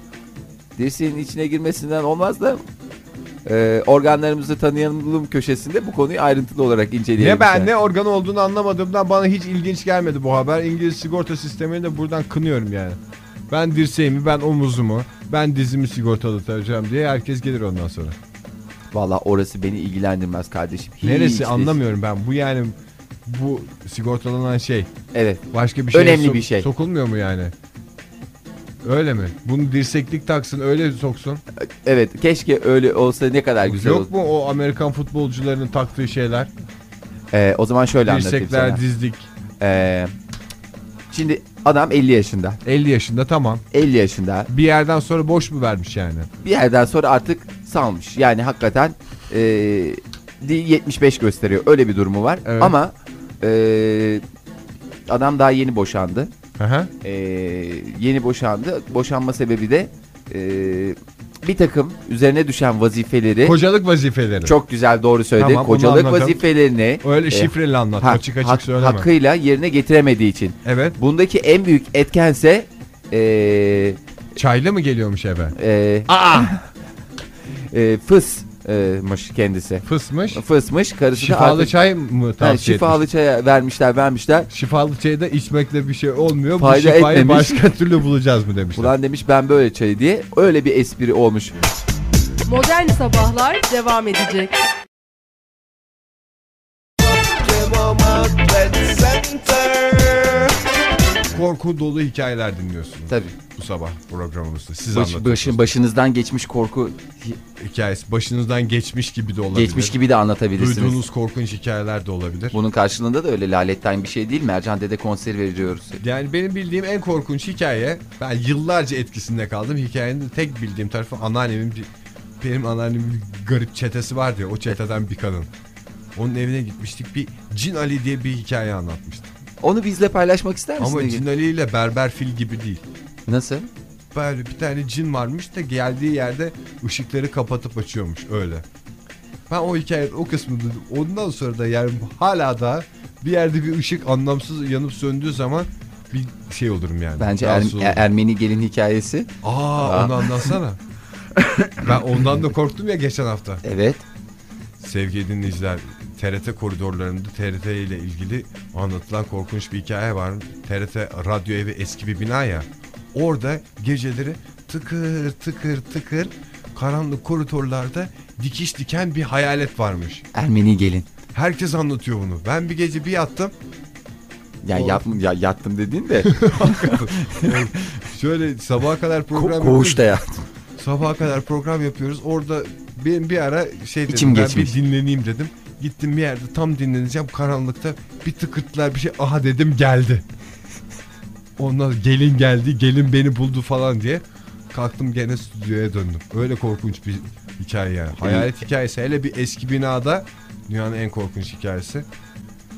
Speaker 4: Dirseğin içine girmesinden olmaz da ee, organlarımızı tanıyalım köşesinde bu konuyu ayrıntılı olarak inceleyelim.
Speaker 1: Ne ben
Speaker 4: yani.
Speaker 1: ne organı olduğunu anlamadığımdan bana hiç ilginç gelmedi bu haber. İngiliz sigorta sistemini de buradan kınıyorum yani. Ben dirseğimi, ben omuzumu, ben dizimi sigortalatacağım diye herkes gelir ondan sonra.
Speaker 4: Valla orası beni ilgilendirmez kardeşim. Hiç
Speaker 1: Neresi
Speaker 4: değil.
Speaker 1: anlamıyorum ben. Bu yani bu sigortalanan şey
Speaker 4: Evet.
Speaker 1: başka bir şey
Speaker 4: Önemli bir şey.
Speaker 1: sokulmuyor mu yani? Öyle mi? Bunu dirseklik taksın öyle soksun.
Speaker 4: Evet. Keşke öyle olsa ne kadar güzel olur.
Speaker 1: Yok mu o Amerikan futbolcularının taktığı şeyler?
Speaker 4: Ee, o zaman şöyle anlatayım sana.
Speaker 1: Dirsekler, dizlik.
Speaker 4: Ee, şimdi adam 50 yaşında.
Speaker 1: 50 yaşında tamam.
Speaker 4: 50 yaşında.
Speaker 1: Bir yerden sonra boş mu vermiş yani?
Speaker 4: Bir yerden sonra artık salmış. Yani hakikaten ee, di- 75 gösteriyor. Öyle bir durumu var.
Speaker 1: Evet.
Speaker 4: Ama ee, adam daha yeni boşandı.
Speaker 1: Hı hı.
Speaker 4: Ee, yeni boşandı. Boşanma sebebi de ee, bir takım üzerine düşen vazifeleri
Speaker 1: Kocalık vazifeleri.
Speaker 4: E, çok güzel doğru söyledin.
Speaker 1: Tamam, onu
Speaker 4: Kocalık
Speaker 1: anladım.
Speaker 4: vazifelerini
Speaker 1: Öyle
Speaker 4: e,
Speaker 1: şifreli anlat.
Speaker 4: ha-
Speaker 1: açık açık
Speaker 4: hak-
Speaker 1: söyleme.
Speaker 4: hakkıyla yerine getiremediği için.
Speaker 1: Evet.
Speaker 4: Bundaki en büyük etkense ee,
Speaker 1: Çayla mı geliyormuş eve?
Speaker 4: e,
Speaker 1: Aa!
Speaker 4: e, fısmış kendisi.
Speaker 1: Fısmış.
Speaker 4: Fısmış karısı da
Speaker 1: Şifalı
Speaker 4: artık-
Speaker 1: çay mı
Speaker 4: Ha,
Speaker 1: tavsiye
Speaker 4: şifalı
Speaker 1: etmiş?
Speaker 4: çaya vermişler vermişler.
Speaker 1: Şifalı çayı da içmekle bir şey olmuyor.
Speaker 4: Fayda
Speaker 1: Bu şifayı
Speaker 4: etmemiş.
Speaker 1: başka türlü bulacağız mı demişler.
Speaker 4: Ulan demiş ben böyle çayı diye öyle bir espri olmuş.
Speaker 3: Modern Sabahlar devam edecek.
Speaker 1: Korku dolu hikayeler dinliyorsunuz
Speaker 4: Tabii
Speaker 1: bu sabah programımızda. Siz
Speaker 4: baş-
Speaker 1: anlatıyorsunuz.
Speaker 4: başın, başınızdan geçmiş korku
Speaker 1: Hikayesi başınızdan geçmiş gibi de olabilir.
Speaker 4: geçmiş gibi de anlatabilirsiniz.
Speaker 1: Duyduğunuz korkunç hikayeler de olabilir.
Speaker 4: Bunun karşılığında da öyle laletten bir şey değil. Mercan Dede konseri veriyoruz.
Speaker 1: Yani benim bildiğim en korkunç hikaye ben yıllarca etkisinde kaldım. Hikayenin de tek bildiğim tarafı anneannemin bir benim anneannemin bir garip çetesi vardı ya o çeteden bir kadın. Onun evine gitmiştik. Bir Cin Ali diye bir hikaye anlatmıştı.
Speaker 4: Onu bizle paylaşmak ister misin?
Speaker 1: Ama
Speaker 4: Ege?
Speaker 1: Cin Ali ile Berber Fil gibi değil.
Speaker 4: Nasıl?
Speaker 1: Böyle bir tane cin varmış da geldiği yerde ışıkları kapatıp açıyormuş öyle. Ben o hikaye o kısmını ondan sonra da yani hala da bir yerde bir ışık anlamsız yanıp söndüğü zaman bir şey olurum yani.
Speaker 4: Bence
Speaker 1: rahatsız
Speaker 4: Er-
Speaker 1: olurum.
Speaker 4: Ermeni gelin hikayesi.
Speaker 1: Aa,
Speaker 4: Aa.
Speaker 1: onu anlatsana. ben ondan da korktum ya geçen hafta.
Speaker 4: Evet.
Speaker 1: Sevgili dinleyiciler TRT koridorlarında TRT ile ilgili anlatılan korkunç bir hikaye var. TRT radyo evi eski bir bina ya. Orada geceleri tıkır tıkır tıkır karanlık koridorlarda dikiş diken bir hayalet varmış.
Speaker 4: Ermeni gelin.
Speaker 1: Herkes anlatıyor bunu. Ben bir gece bir yattım.
Speaker 4: Ya,
Speaker 1: Doğru.
Speaker 4: yap, ya yattım dediğin de
Speaker 1: Şöyle sabaha kadar program
Speaker 4: ko-
Speaker 1: yapıyoruz.
Speaker 4: koğuşta yattım.
Speaker 1: Sabaha kadar program yapıyoruz. Orada benim bir ara şey dedim.
Speaker 4: İçim
Speaker 1: ben
Speaker 4: geçmiş.
Speaker 1: bir dinleneyim dedim. Gittim bir yerde tam dinleneceğim karanlıkta bir tıkırtılar bir şey aha dedim geldi. Onlar gelin geldi gelin beni buldu falan diye kalktım gene stüdyoya döndüm. Öyle korkunç bir hikaye
Speaker 4: Ee,
Speaker 1: yani. Hayalet hikayesi hele bir eski binada dünyanın en korkunç hikayesi.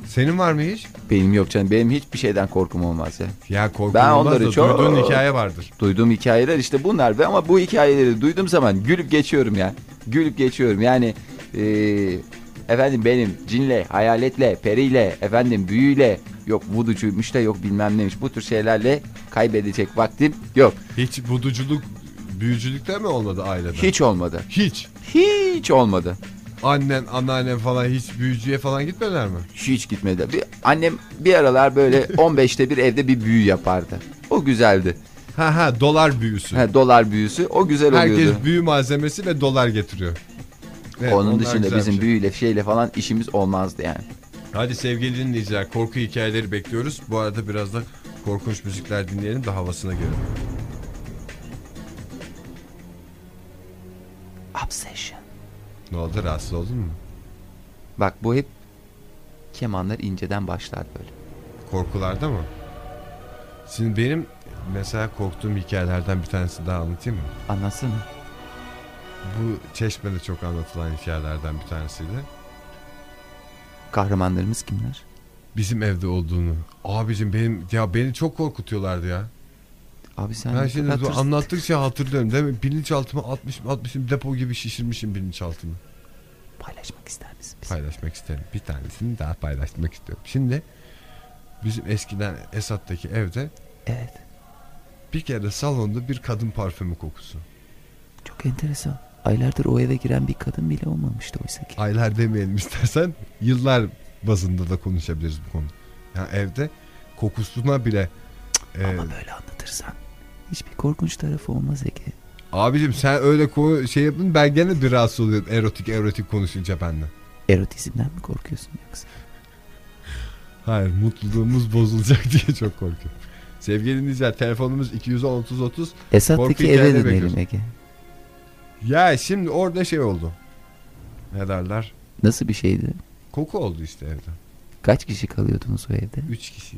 Speaker 1: Senin var mı hiç?
Speaker 4: Benim yok canım. Benim hiçbir şeyden korkum olmaz ya.
Speaker 1: Ya korkun
Speaker 4: Ben
Speaker 1: olmaz
Speaker 4: onları
Speaker 1: da
Speaker 4: çok-
Speaker 1: duyduğun hikaye vardır.
Speaker 4: Duyduğum hikayeler işte bunlar ve ama bu hikayeleri duyduğum zaman gülüp geçiyorum ya. Gülüp geçiyorum. Yani eee, e, Efendim benim cinle, hayaletle, periyle, efendim büyüyle, yok vuducuymuş da yok bilmem neymiş. Bu tür şeylerle kaybedecek vaktim yok.
Speaker 1: Hiç buduculuk, büyücülükte mi olmadı ailede?
Speaker 4: Hiç olmadı.
Speaker 1: Hiç.
Speaker 4: Hiç olmadı.
Speaker 1: Annen, anneannen falan hiç büyücüye falan gitmediler mi?
Speaker 4: Hiç gitmedi. Bir, annem bir aralar böyle 15'te bir evde bir büyü yapardı. O güzeldi.
Speaker 1: Ha ha dolar büyüsü.
Speaker 4: Ha, dolar büyüsü o güzel oluyordu.
Speaker 1: Herkes büyü malzemesi ve dolar getiriyor. Evet,
Speaker 4: Onun
Speaker 1: onlar
Speaker 4: dışında
Speaker 1: güzel
Speaker 4: bizim
Speaker 1: bir şey.
Speaker 4: büyüyle şeyle falan işimiz olmazdı yani.
Speaker 1: Hadi sevgili dinleyiciler korku hikayeleri bekliyoruz. Bu arada biraz da korkunç müzikler dinleyelim de havasına girelim.
Speaker 4: Obsession.
Speaker 1: Ne oldu rahatsız oldun mu?
Speaker 4: Bak bu hep kemanlar inceden başlar böyle.
Speaker 1: Korkularda mı? Şimdi benim mesela korktuğum hikayelerden bir tanesi daha anlatayım mı?
Speaker 4: Anlasana.
Speaker 1: Bu çeşmede çok anlatılan hikayelerden bir tanesiydi.
Speaker 4: Kahramanlarımız kimler?
Speaker 1: Bizim evde olduğunu. Abicim benim ya beni çok korkutuyorlardı ya.
Speaker 4: Abi sen
Speaker 1: Ben
Speaker 4: ne
Speaker 1: şimdi
Speaker 4: kadar
Speaker 1: bu
Speaker 4: tırs-
Speaker 1: anlattıkça hatırlıyorum değil mi? Bilinçaltıma atmışım atmışım depo gibi şişirmişim bilinçaltımı.
Speaker 4: paylaşmak ister misin? bize?
Speaker 1: Paylaşmak isterim. Bir tanesini daha paylaşmak istiyorum. Şimdi bizim eskiden Esat'taki evde
Speaker 4: Evet.
Speaker 1: bir kere salonda bir kadın parfümü kokusu.
Speaker 4: Çok enteresan. Aylardır o eve giren bir kadın bile olmamıştı oysa ki.
Speaker 1: aylar demeyelim istersen yıllar bazında da konuşabiliriz bu konu. Yani evde kokusuna bile e,
Speaker 4: Ama böyle anlatırsan hiçbir korkunç tarafı olmaz Ege.
Speaker 1: abicim sen öyle ko- şey yapın ben gene bir rahatsız oluyorum erotik erotik konuşunca benden.
Speaker 4: Erotizmden mi korkuyorsun yoksa?
Speaker 1: Hayır mutluluğumuz bozulacak diye çok korkuyorum. Sevgili dinleyiciler telefonumuz 210 30 30. Korku
Speaker 4: Esat'taki eve
Speaker 1: hikayeni
Speaker 4: dönelim
Speaker 1: bekliyorsun.
Speaker 4: Ege.
Speaker 1: Ya şimdi orada şey oldu. Ne derler?
Speaker 4: Nasıl bir şeydi?
Speaker 1: Koku oldu işte evde.
Speaker 4: Kaç kişi kalıyordunuz o evde?
Speaker 1: 3 kişi.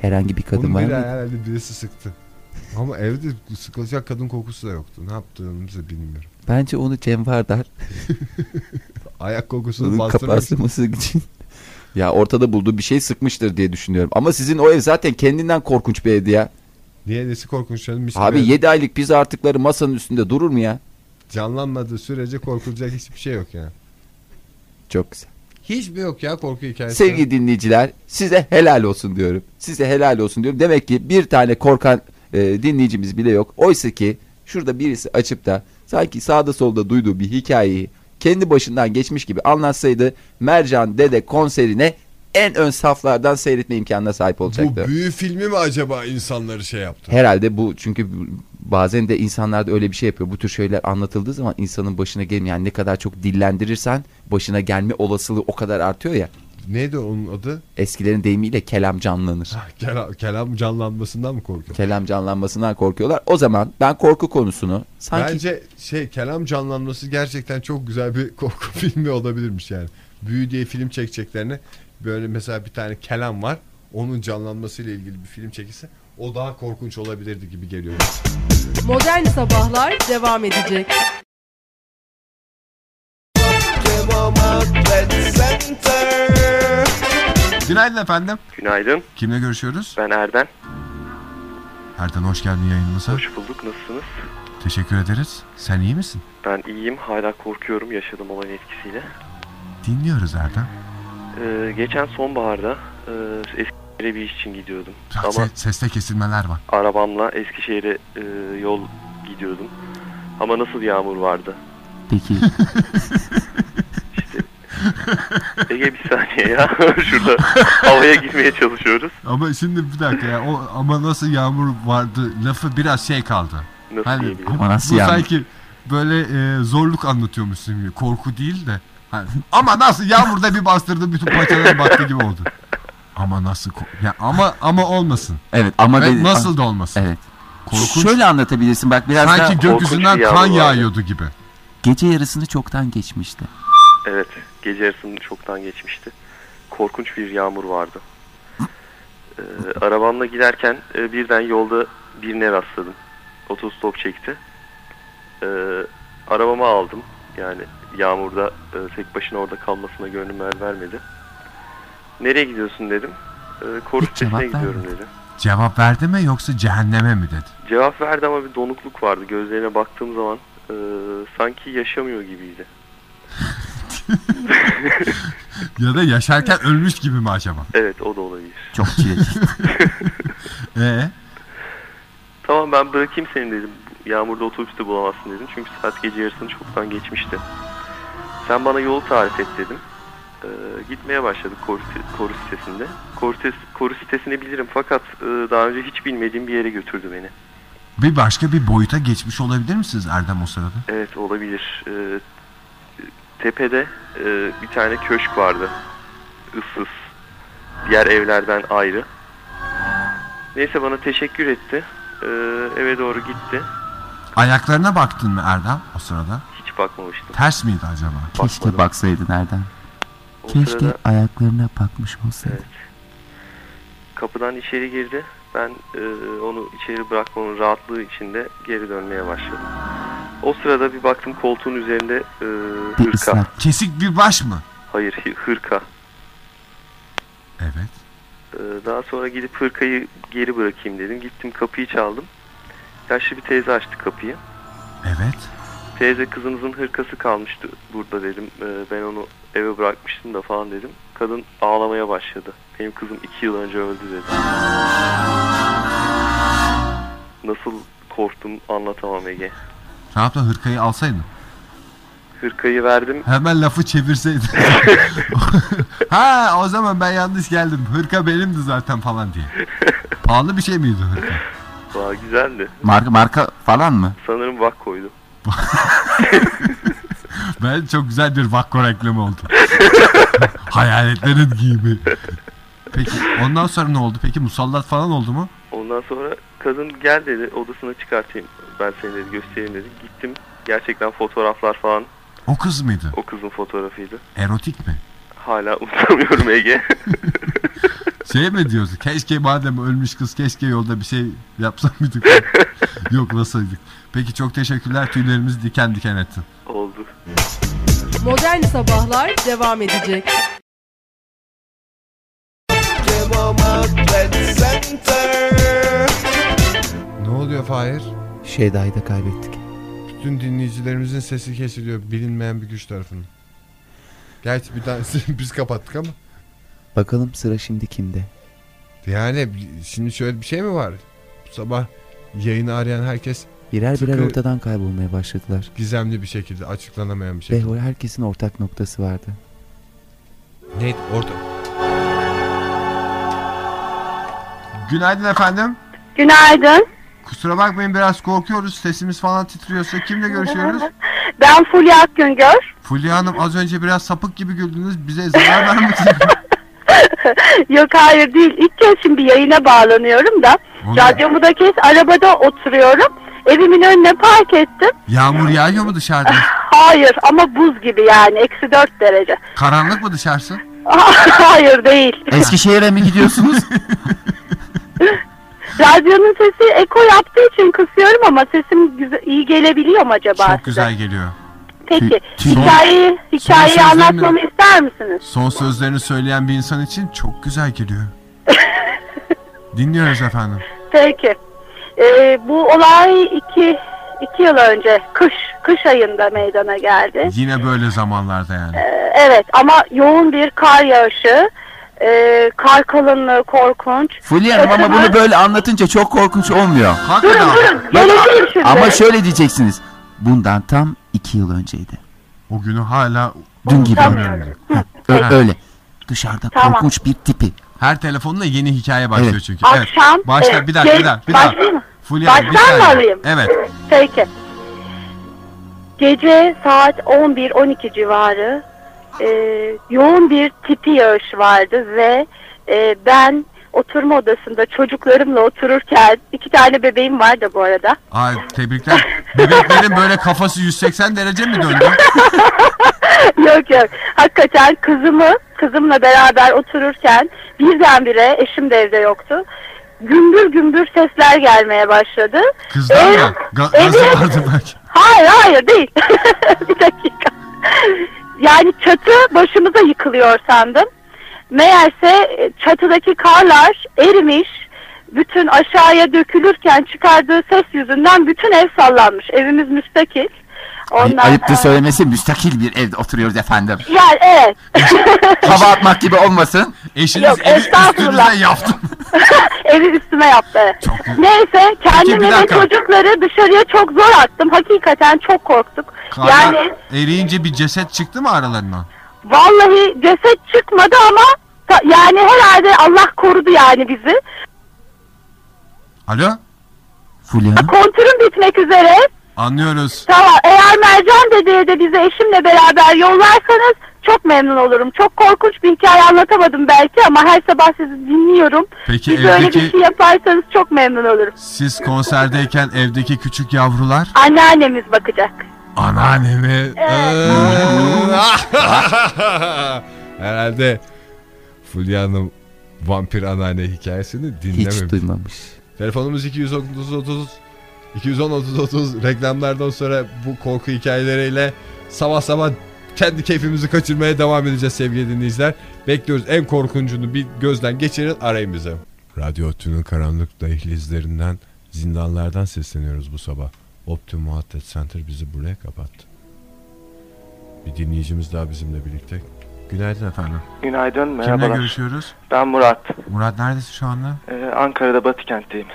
Speaker 4: Herhangi bir kadın
Speaker 1: Onu
Speaker 4: var
Speaker 1: biri
Speaker 4: mıydı?
Speaker 1: herhalde birisi sıktı. Ama evde sıkılacak kadın kokusu da yoktu. Ne yaptığımızı bilmiyorum.
Speaker 4: Bence onu Cem Vardar
Speaker 1: Ayak kokusunu
Speaker 4: Bunun
Speaker 1: bastırmak
Speaker 4: kapatılması için. ya ortada bulduğu bir şey sıkmıştır diye düşünüyorum. Ama sizin o ev zaten kendinden korkunç bir evdi ya.
Speaker 1: Niye nesi korkunç canım? Mis
Speaker 4: Abi
Speaker 1: gibi
Speaker 4: 7 aylık pizza artıkları masanın üstünde durur mu ya?
Speaker 1: canlanmadığı sürece korkulacak hiçbir şey yok yani.
Speaker 4: Çok güzel.
Speaker 1: Hiçbir yok ya korku hikayesi.
Speaker 4: Sevgili dinleyiciler size helal olsun diyorum. Size helal olsun diyorum. Demek ki bir tane korkan e, dinleyicimiz bile yok. Oysa ki şurada birisi açıp da sanki sağda solda duyduğu bir hikayeyi kendi başından geçmiş gibi anlatsaydı Mercan Dede konserine en ön saflardan seyretme imkanına sahip olacaktı.
Speaker 1: Bu büyü filmi mi acaba insanları şey yaptı?
Speaker 4: Herhalde bu çünkü bazen de insanlarda öyle bir şey yapıyor. Bu tür şeyler anlatıldığı zaman insanın başına gelmiyor. Yani ne kadar çok dillendirirsen başına gelme olasılığı o kadar artıyor ya.
Speaker 1: Neydi onun adı?
Speaker 4: Eskilerin deyimiyle kelam canlanır.
Speaker 1: Kelam, kelam canlanmasından mı korkuyor?
Speaker 4: kelam canlanmasından korkuyorlar. O zaman ben korku konusunu sanki
Speaker 1: Bence şey kelam canlanması gerçekten çok güzel bir korku filmi olabilirmiş yani. Büyü diye film çekeceklerine böyle mesela bir tane kelam var. Onun canlanmasıyla ilgili bir film çekilse o daha korkunç olabilirdi gibi geliyor.
Speaker 3: Modern Sabahlar devam edecek.
Speaker 1: Günaydın efendim.
Speaker 5: Günaydın,
Speaker 1: Kimle görüşüyoruz?
Speaker 5: ben Erdem.
Speaker 1: Ertan hoş geldin yayınımıza.
Speaker 5: Hoş bulduk, nasılsınız?
Speaker 1: Teşekkür ederiz. Sen iyi misin?
Speaker 5: Ben iyiyim, hala korkuyorum yaşadığım olan etkisiyle.
Speaker 1: Dinliyoruz Erdem.
Speaker 5: Ee, geçen sonbaharda e, Eskişehir'e bir iş için gidiyordum.
Speaker 1: Se-
Speaker 5: Ama
Speaker 1: Seste kesilmeler var.
Speaker 5: arabamla Eskişehir'e e, yol gidiyordum. Ama nasıl yağmur vardı?
Speaker 4: peki
Speaker 5: Ege bir saniye ya, şurada havaya girmeye çalışıyoruz.
Speaker 1: Ama şimdi bir dakika ya. O, ama nasıl yağmur vardı lafı biraz şey kaldı.
Speaker 5: Nasıl
Speaker 1: Hani-
Speaker 5: diyebilirim?
Speaker 4: ama nasıl
Speaker 1: Bu
Speaker 4: yani?
Speaker 1: sanki böyle e, zorluk anlatıyormuşsun gibi. Korku değil de. Hani, ama nasıl yağmurda bir bastırdı bütün parçaları battı gibi oldu. Ama nasıl ko- ya ama ama olmasın.
Speaker 4: Evet ama
Speaker 1: Ve
Speaker 4: dedi-
Speaker 1: nasıl da olmasın.
Speaker 4: Evet.
Speaker 1: Korkunç.
Speaker 4: Şöyle anlatabilirsin bak biraz daha
Speaker 1: Sanki
Speaker 5: korkunç
Speaker 1: gökyüzünden
Speaker 5: bir
Speaker 1: kan
Speaker 5: yağmur vardı.
Speaker 1: yağıyordu gibi.
Speaker 4: gece yarısını çoktan geçmişti.
Speaker 5: Evet, gece yarısını çoktan geçmişti. Korkunç bir yağmur vardı. Ee, arabamla giderken e, birden yolda birine rastladım. Otostop çekti. Ee, arabamı aldım. Yani yağmurda e, tek başına orada kalmasına gönlüm el vermedi. Nereye gidiyorsun dedim. Ee, koru
Speaker 4: Hiç cevap
Speaker 5: sitesine gidiyorum
Speaker 4: vermedi.
Speaker 5: dedi.
Speaker 1: Cevap verdi mi yoksa cehenneme mi dedi?
Speaker 5: Cevap verdi ama bir donukluk vardı. Gözlerine baktığım zaman e, sanki yaşamıyor gibiydi.
Speaker 1: ya da yaşarken ölmüş gibi mi acaba?
Speaker 5: Evet o da olabilir.
Speaker 4: Çok çileci.
Speaker 1: Ee,
Speaker 5: Tamam ben bırakayım seni dedim. Yağmurda otobüste bulamazsın dedim. Çünkü saat gece yarısını çoktan geçmişti. Sen bana yolu tarif et dedim. Ee, gitmeye başladık koru, koru sitesinde. Koru, sites- koru sitesini bilirim fakat e, daha önce hiç bilmediğim bir yere götürdü beni.
Speaker 1: bir başka bir boyuta geçmiş olabilir misiniz Erdem o sırada?
Speaker 5: Evet olabilir. Ee, tepede e, bir tane köşk vardı. Issız. Diğer evlerden ayrı. Neyse bana teşekkür etti. Ee, eve doğru gitti.
Speaker 1: Ayaklarına baktın mı Erdem o sırada?
Speaker 5: Hiç bakmamıştım.
Speaker 1: Ters miydi acaba?
Speaker 4: Keşke baksaydın Erdem.
Speaker 5: O
Speaker 4: Keşke
Speaker 5: sırada
Speaker 4: ayaklarına bakmış olsaydın.
Speaker 5: kapıdan içeri girdi. Ben e, onu içeri bırakmanın rahatlığı içinde geri dönmeye başladım. O sırada bir baktım koltuğun üzerinde e,
Speaker 4: Bir
Speaker 5: hırka.
Speaker 4: ıslak
Speaker 1: Kesik bir baş mı?
Speaker 5: Hayır hı- hırka.
Speaker 1: Evet.
Speaker 5: Ee, Daha sonra gidip hırkayı geri bırakayım dedim. Gittim kapıyı çaldım. Yaşlı bir teyze açtı kapıyı.
Speaker 1: Evet.
Speaker 5: Teyze kızınızın hırkası kalmıştı burada dedim. Ee, Ben onu eve bırakmıştım da falan dedim. Kadın ağlamaya başladı. Benim kızım iki yıl önce öldü dedi. Nasıl korktum anlatamam Ege.
Speaker 1: Ne yaptın hırkayı alsaydın?
Speaker 5: Hırkayı verdim.
Speaker 1: Hemen lafı çevirseydin. ha o zaman ben yanlış geldim. Hırka benimdi zaten falan diye. Pahalı bir şey miydi hırka?
Speaker 5: Vay güzeldi.
Speaker 4: Marka, marka falan mı?
Speaker 5: Sanırım vak koydu.
Speaker 1: Ben çok güzel bir Vakko reklamı oldu. Hayaletlerin giyimi. Peki ondan sonra ne oldu? Peki musallat falan oldu mu?
Speaker 5: Ondan sonra kadın gel dedi odasına çıkartayım. Ben seni dedi göstereyim dedi. Gittim. Gerçekten fotoğraflar falan
Speaker 1: O kız mıydı?
Speaker 5: o kızın fotoğrafıydı.
Speaker 1: Erotik mi?
Speaker 5: Hala unutamıyorum Ege.
Speaker 1: Şey mi diyorsun? Keşke madem ölmüş kız keşke yolda bir şey yapsak mıydık? Yoklasaydık. Peki çok teşekkürler. Tüylerimiz diken diken ettin.
Speaker 5: Oldu.
Speaker 3: Modern Sabahlar devam edecek.
Speaker 6: Ne oluyor Fahir?
Speaker 7: Şeyda'yı da kaybettik.
Speaker 6: Bütün dinleyicilerimizin sesi kesiliyor bilinmeyen bir güç tarafından. Gerçi bir tanesini biz kapattık ama.
Speaker 7: Bakalım sıra şimdi kimde?
Speaker 6: Yani şimdi şöyle bir şey mi var? Bu sabah yayını arayan herkes
Speaker 7: Birer birer
Speaker 6: Tıpkı-
Speaker 7: ortadan kaybolmaya başladılar.
Speaker 6: gizemli bir şekilde açıklanamayan bir
Speaker 7: Ve
Speaker 6: şekilde.
Speaker 7: o herkesin ortak noktası vardı.
Speaker 6: Neydi orta?
Speaker 1: Günaydın efendim.
Speaker 8: Günaydın.
Speaker 1: Kusura bakmayın biraz korkuyoruz. Sesimiz falan titriyorsa kimle görüşüyoruz?
Speaker 8: Ben Fulya Akgüngör.
Speaker 1: Fulya Hanım az önce biraz sapık gibi güldünüz. Bize zarar vermesin.
Speaker 8: Yok hayır değil. İlk kez şimdi yayına bağlanıyorum da.
Speaker 1: Onu-
Speaker 8: Radyomu da kes. Arabada oturuyorum. Evimin önüne park ettim.
Speaker 1: Yağmur yağıyor mu dışarıda?
Speaker 8: Hayır ama buz gibi yani. Eksi dört derece.
Speaker 1: Karanlık mı dışarısı?
Speaker 8: hayır değil.
Speaker 4: Eskişehir'e mi gidiyorsunuz?
Speaker 8: Radyonun sesi eko yaptığı için kısıyorum ama sesim güzel, iyi gelebiliyor mu acaba size?
Speaker 1: Çok güzel geliyor.
Speaker 8: Peki.
Speaker 4: Tüy- tüy-
Speaker 8: hikayeyi hikayeyi
Speaker 1: sözlerini-
Speaker 8: anlatmamı ister misiniz?
Speaker 1: Son sözlerini söyleyen bir insan için çok güzel geliyor. Dinliyoruz efendim.
Speaker 8: Peki. Ee, bu olay iki, iki yıl önce kış kış ayında meydana geldi.
Speaker 1: Yine böyle zamanlarda
Speaker 8: Ee,
Speaker 1: yani.
Speaker 8: Evet ama yoğun bir kar yağışı. Ee, kar kalınlığı korkunç.
Speaker 4: Fulya Hanım ama bunu böyle anlatınca çok korkunç olmuyor.
Speaker 8: Durun
Speaker 1: Hakikaten.
Speaker 8: durun geleceğim şimdi.
Speaker 4: Ama şöyle diyeceksiniz. Bundan tam iki yıl önceydi.
Speaker 1: O günü hala
Speaker 4: Dün gibi.
Speaker 1: unutamıyorum.
Speaker 4: Ö-
Speaker 1: Ha.
Speaker 4: öyle. Dışarıda
Speaker 8: Tamam.
Speaker 4: korkunç bir tipi.
Speaker 1: Her telefonla yeni hikaye başlıyor
Speaker 4: Evet.
Speaker 1: çünkü. Evet.
Speaker 8: Akşam.
Speaker 1: Başla
Speaker 8: e,
Speaker 1: bir dakika bir
Speaker 8: gel-
Speaker 1: dakika. Bir dakika.
Speaker 8: başlayayım mı?
Speaker 1: Fulya Hanım, bir
Speaker 8: Baştan mı
Speaker 1: saniye.
Speaker 8: alayım?
Speaker 1: Evet.
Speaker 8: Peki. Gece saat 11-12 civarı e, yoğun bir tipi yağış vardı ve e, ben oturma odasında çocuklarımla otururken iki tane bebeğim var da bu arada.
Speaker 1: Ay tebrikler. Bebeklerin böyle kafası 180 derece mi döndü?
Speaker 8: yok yok. Hakikaten kızımı kızımla beraber otururken birdenbire eşim de evde yoktu. Gümbür gümbür sesler gelmeye başladı.
Speaker 1: Kızdan
Speaker 8: Evet.
Speaker 1: mı? Ga- gazı
Speaker 8: Evet.
Speaker 1: vardı belki.
Speaker 8: Hayır hayır değil. bir dakika. Yani çatı başımıza yıkılıyor sandım. Meğerse e, çatıdaki karlar erimiş. Bütün aşağıya dökülürken çıkardığı ses yüzünden bütün ev sallanmış. Evimiz müstakil.
Speaker 7: Ay-
Speaker 8: Ondan,
Speaker 7: ayıptır
Speaker 8: e,
Speaker 7: söylemesi müstakil bir evde oturuyoruz efendim.
Speaker 8: Yani evet.
Speaker 7: Hava atmak gibi olmasın.
Speaker 9: Eşiniz
Speaker 8: Yok,
Speaker 9: evi
Speaker 8: estağfurullah.
Speaker 9: üstünüzden yaptı.
Speaker 8: Evi üstüme yaptı. Neyse kendimi ve
Speaker 9: dakika.
Speaker 8: çocukları dışarıya çok zor attım. Hakikaten çok korktuk.
Speaker 9: Karlar
Speaker 8: Yani
Speaker 9: eriyince bir ceset çıktı mı aralarından?
Speaker 8: vallahi ceset çıkmadı ama ta- yani herhalde Allah korudu yani bizi.
Speaker 9: Alo?
Speaker 7: Fulya Hanım.
Speaker 8: Kontürüm bitmek üzere.
Speaker 9: Anlıyoruz.
Speaker 8: Tamam eğer Mercan dedeye de bizi eşimle beraber yollarsanız çok memnun olurum. Çok korkunç bir hikaye anlatamadım belki ama her sabah sizi dinliyorum.
Speaker 9: Peki
Speaker 8: Siz öyle bir
Speaker 9: evdeki
Speaker 8: şey yaparsanız çok memnun olurum.
Speaker 9: siz konserdeyken evdeki küçük yavrular
Speaker 8: Anneannemiz bakacak.
Speaker 9: anneannemi
Speaker 1: Eee, Ee. Herhalde Fulya Hanım vampir anneanne hikayesini dinlememiş.
Speaker 10: Hiç duymamış.
Speaker 1: Telefonumuz 230 30 210 30 30 reklamlardan sonra bu korku hikayeleriyle sabah sabah kendi keyfimizi kaçırmaya devam edeceğiz sevgili dinleyiciler. Bekliyoruz en korkuncunu bir gözden geçirin arayın bize. Radyo Tünün karanlık dehlizlerinden zindanlardan sesleniyoruz bu sabah. Optimum Muhabbet Center bizi buraya kapattı. Bir dinleyicimiz daha bizimle birlikte. Günaydın efendim.
Speaker 5: Günaydın,
Speaker 9: kimle
Speaker 5: merhabalar.
Speaker 9: görüşüyoruz?
Speaker 5: Ben Murat.
Speaker 9: Murat neredesin şu anda?
Speaker 5: Ee, Ankara'da Batıkent'teyim.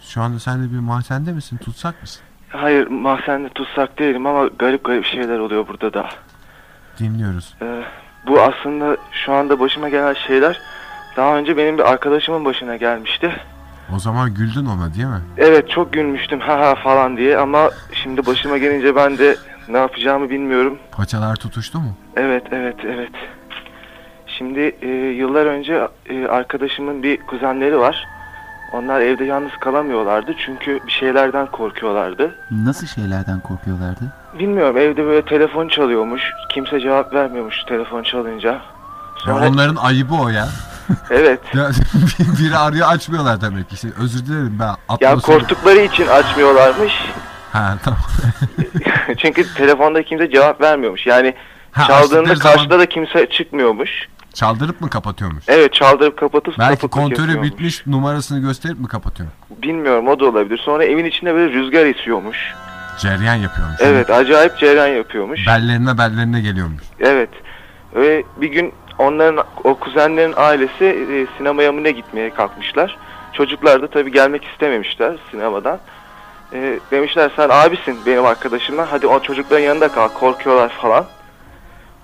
Speaker 9: Şu anda sen de bir mahzende misin? Tutsak mısın?
Speaker 5: Hayır, mahzende tutsak değilim ama garip garip şeyler oluyor burada da.
Speaker 9: Dinliyoruz.
Speaker 5: Ee, bu aslında şu anda başıma gelen şeyler daha önce benim bir arkadaşımın başına gelmişti.
Speaker 9: O zaman güldün ona değil mi?
Speaker 5: Evet çok gülmüştüm ha ha falan diye ama şimdi başıma gelince ben de ne yapacağımı bilmiyorum.
Speaker 9: Paçalar tutuştu mu?
Speaker 5: Evet evet evet. Şimdi e, yıllar önce e, arkadaşımın bir kuzenleri var. Onlar evde yalnız kalamıyorlardı çünkü bir şeylerden korkuyorlardı.
Speaker 7: Nasıl şeylerden korkuyorlardı?
Speaker 5: Bilmiyorum evde böyle telefon çalıyormuş. Kimse cevap vermiyormuş telefon çalınca.
Speaker 9: Ya
Speaker 5: Sonra-
Speaker 9: onların ayıbı o ya.
Speaker 5: Evet.
Speaker 9: Ya bir- Biri arıyor açmıyorlar demek ki. Şey, özür dilerim ben
Speaker 5: Ya
Speaker 9: atmosfer-
Speaker 5: korktukları için açmıyorlarmış.
Speaker 9: Ha tamam.
Speaker 5: Çünkü telefonda kimse cevap vermiyormuş. Yani
Speaker 9: Ha,
Speaker 5: çaldığında
Speaker 9: açtıkları zaman
Speaker 5: karşıda da kimse çıkmıyormuş.
Speaker 9: Çaldırıp mı kapatıyormuş?
Speaker 5: Evet çaldırıp kapatıp
Speaker 9: Belki
Speaker 5: kapatıp
Speaker 9: kontörü
Speaker 5: yapıyormuş.
Speaker 9: bitmiş numarasını gösterip mi kapatıyor?
Speaker 5: Bilmiyorum o da olabilir. Sonra evin içinde böyle rüzgar esiyormuş.
Speaker 9: Ceryan yapıyormuş.
Speaker 5: Evet acayip cereyan yapıyormuş.
Speaker 9: Bellerine bellerine geliyormuş.
Speaker 5: Evet. Ve bir gün onların o kuzenlerin ailesi e, sinemaya mı ne gitmeye kalkmışlar. Çocuklar da tabii gelmek istememişler sinemadan. E, demişler sen abisin benim arkadaşımla. Hadi o çocukların yanında kal korkuyorlar falan.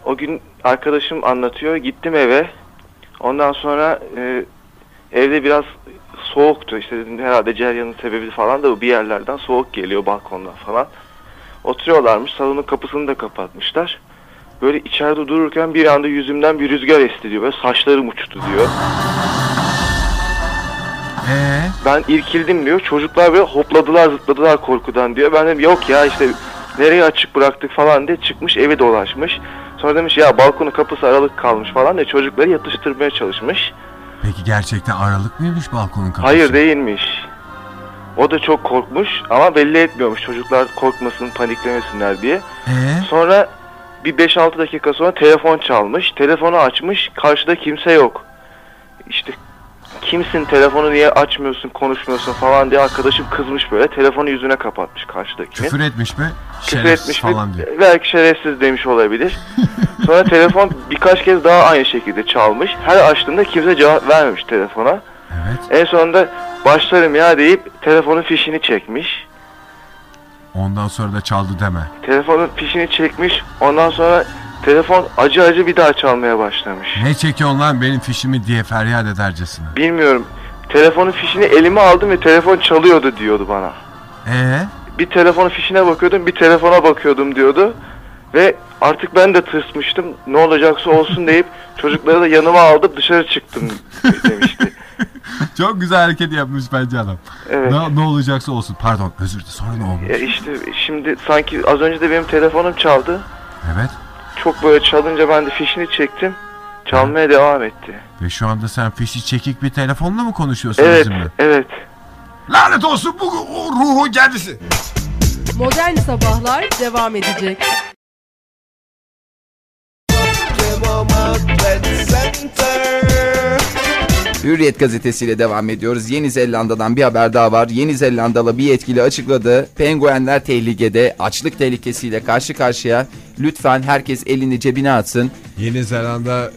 Speaker 5: O gün arkadaşım anlatıyor. Gittim eve. Ondan sonra e, evde biraz soğuktu. İşte dedim herhalde ceryanın sebebi falan da bu. bir yerlerden soğuk geliyor balkondan falan. Oturuyorlarmış. Salonun kapısını da kapatmışlar. Böyle içeride dururken bir anda yüzümden bir rüzgar esti diyor. Böyle saçlarım uçtu diyor.
Speaker 9: Ee,
Speaker 5: Ben irkildim diyor. Çocuklar böyle hopladılar zıpladılar korkudan diyor. Ben dedim yok ya işte nereye açık bıraktık falan diye çıkmış evi dolaşmış. Sonra demiş ya balkonun kapısı aralık kalmış falan diye çocukları yatıştırmaya çalışmış.
Speaker 9: peki gerçekten aralık mıymış balkonun kapısı?
Speaker 5: Hayır değilmiş. O da çok korkmuş ama belli etmiyormuş çocuklar korkmasın paniklemesinler diye.
Speaker 9: Ee,
Speaker 5: Sonra bir 5-6 dakika sonra telefon çalmış. Telefonu açmış. Karşıda kimse yok. İşte kimsin telefonu niye açmıyorsun konuşmuyorsun falan diye arkadaşım kızmış böyle. Telefonu yüzüne kapatmış karşıdakinin.
Speaker 9: küfür etmiş mi?
Speaker 5: Küfür
Speaker 9: Şerefsiz
Speaker 5: etmiş mi?
Speaker 9: falan diyor.
Speaker 5: Belki şerefsiz demiş olabilir. Sonra telefon birkaç kez daha aynı şekilde çalmış. Her açtığımda kimse cevap vermemiş telefona.
Speaker 9: Evet.
Speaker 5: En sonunda başlarım ya deyip telefonun fişini çekmiş.
Speaker 9: Ondan sonra da çaldı deme.
Speaker 5: Telefonun fişini çekmiş. Ondan sonra telefon acı acı bir daha çalmaya başlamış.
Speaker 9: Ne çekiyorsun lan benim fişimi diye feryat edercesine.
Speaker 5: Bilmiyorum. Telefonun fişini elime aldım ve telefon çalıyordu diyordu bana.
Speaker 9: Ee,
Speaker 5: Bir telefonun fişine bakıyordum, bir telefona bakıyordum diyordu. Ve artık ben de tırsmıştım. Ne olacaksa olsun deyip çocukları da yanıma aldım dışarı çıktım demişti.
Speaker 9: çok güzel hareket yapmış bence adam.
Speaker 5: Evet.
Speaker 9: Ne, ne olacaksa olsun. Pardon özür dilerim. Sonra ne olmuş?
Speaker 5: Ya E işte şimdi sanki az önce de benim telefonum çaldı.
Speaker 9: Evet.
Speaker 5: Çok böyle çalınca ben de fişini çektim. Çalmaya devam etti.
Speaker 9: Ve şu anda sen fişi çekik bir telefonla mı konuşuyorsun
Speaker 5: Evet,
Speaker 9: bizimle?
Speaker 5: evet.
Speaker 9: Lanet olsun bu o ruhun kendisi.
Speaker 3: Modern Sabahlar devam edecek.
Speaker 4: Hürriyet gazetesiyle devam ediyoruz. Yeni Zelanda'dan bir haber daha var. Yeni Zelandalı bir yetkili açıkladı. Penguenler tehlikede, açlık tehlikesiyle karşı karşıya. Lütfen herkes elini cebine atsın.
Speaker 1: Yeni Zelanda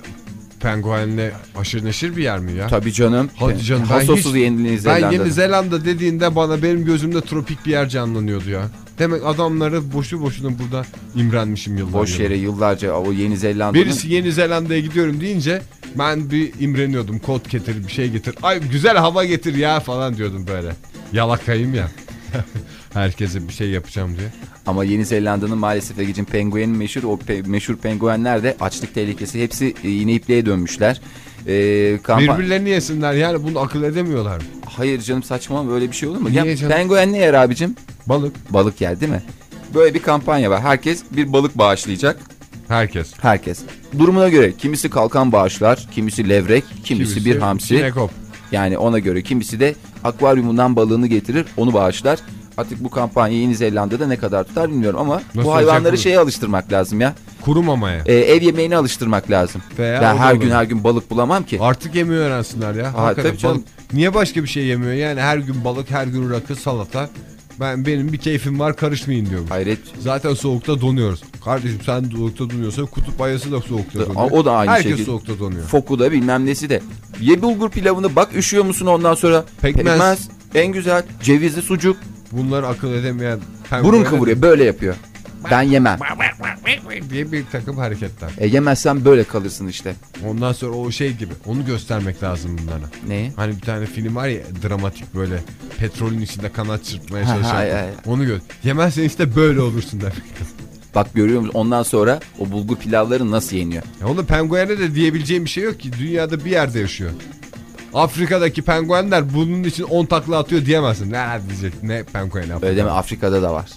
Speaker 1: penguenle aşırı neşir bir yer mi ya?
Speaker 4: Tabii canım.
Speaker 1: Hadi canım, ben
Speaker 4: Hasosuz
Speaker 1: hiç-
Speaker 4: Yeni
Speaker 1: Ben
Speaker 4: Zelanda'da.
Speaker 1: Yeni Zelanda dediğinde bana benim gözümde tropik bir yer canlanıyordu ya. Demek adamları boşu boşuna burada imrenmişim yıllar
Speaker 4: Boş
Speaker 1: yılı.
Speaker 4: yere yıllarca o Yeni Zelanda'nın...
Speaker 1: Birisi Yeni Zelanda'ya gidiyorum deyince ben bir imreniyordum. Kot getir bir şey getir. Ay güzel hava getir ya falan diyordum böyle. Yalakayım ya. Herkese bir şey yapacağım diye.
Speaker 4: Ama Yeni Zelanda'nın maalesef Ege'cim penguenin meşhur o pe- meşhur penguenler de açlık tehlikesi hepsi e, yine ipliğe dönmüşler. Ee, kampa-
Speaker 1: Birbirlerini yesinler yani bunu akıl edemiyorlar.
Speaker 4: Hayır canım saçma böyle bir şey olur mu?
Speaker 1: Niye
Speaker 4: Ya,
Speaker 1: canım?
Speaker 4: penguen ne yer abicim?
Speaker 1: Balık
Speaker 4: Balık yer değil mi? Böyle bir kampanya var. Herkes bir balık bağışlayacak.
Speaker 1: herkes.
Speaker 4: Herkes. Durumuna göre kimisi kalkan bağışlar, kimisi levrek, kimisi, bir hamsi.
Speaker 1: Sinekop.
Speaker 4: Yani ona göre kimisi de akvaryumundan balığını getirir, onu bağışlar. Artık bu kampanya Yeni Zelanda'da ne kadar tutar bilmiyorum ama
Speaker 1: Nasıl
Speaker 4: bu
Speaker 1: olacak
Speaker 4: hayvanları
Speaker 1: bu?
Speaker 4: şeye alıştırmak lazım ya.
Speaker 1: Kuru mamaya.
Speaker 4: E, ev yemeğini alıştırmak lazım.
Speaker 1: Veya
Speaker 4: ben
Speaker 1: o da
Speaker 4: her gün
Speaker 1: olabilir.
Speaker 4: her gün balık bulamam ki.
Speaker 1: Artık yemeği öğrensinler ya. Hakikaten
Speaker 4: tabii canım.
Speaker 1: balık- Niye başka bir şey yemiyor? Yani her gün balık, her gün rakı, salata. Ben benim bir keyfim var, karışmayın diyor. bu.
Speaker 4: Hayret.
Speaker 1: Zaten soğukta donuyoruz. Kardeşim sen soğukta donuyorsan kutup ayısı da soğukta
Speaker 4: Da-
Speaker 1: donuyor.
Speaker 4: o da aynı
Speaker 1: Herkes
Speaker 4: şekilde.
Speaker 1: soğukta donuyor.
Speaker 4: Foku da bilmem nesi de. Ye bulgur pilavını bak üşüyor musun ondan sonra?
Speaker 1: Pekmez.
Speaker 4: En güzel cevizli sucuk.
Speaker 1: Bunları akıl edemeyen penguen-
Speaker 4: Burun kıvırıyor böyle yapıyor. Ben yemem.
Speaker 1: diye bir takım hareketler.
Speaker 4: E, yemezsen böyle kalırsın işte.
Speaker 1: Ondan sonra o şey gibi. Onu göstermek lazım bunlara.
Speaker 4: Neyi?
Speaker 1: Hani bir tane film var ya dramatik böyle petrolün içinde kanat çırpmaya
Speaker 4: Ha, ha, ay,
Speaker 1: çalışan.
Speaker 4: ay.
Speaker 1: Onu gör. Yemezsen işte böyle olursun demek.
Speaker 4: Bak görüyor musun ondan sonra o bulgur pilavları nasıl yeniyor?
Speaker 1: Ya onu penguene de diyebileceğim bir şey yok ki. Dünyada bir yerde yaşıyor. Afrika'daki penguenler bunun için 10 takla atıyor diyemezsin. Ne diyecek? Ne penguen Afrika?
Speaker 4: Öyle deme Afrika'da da var.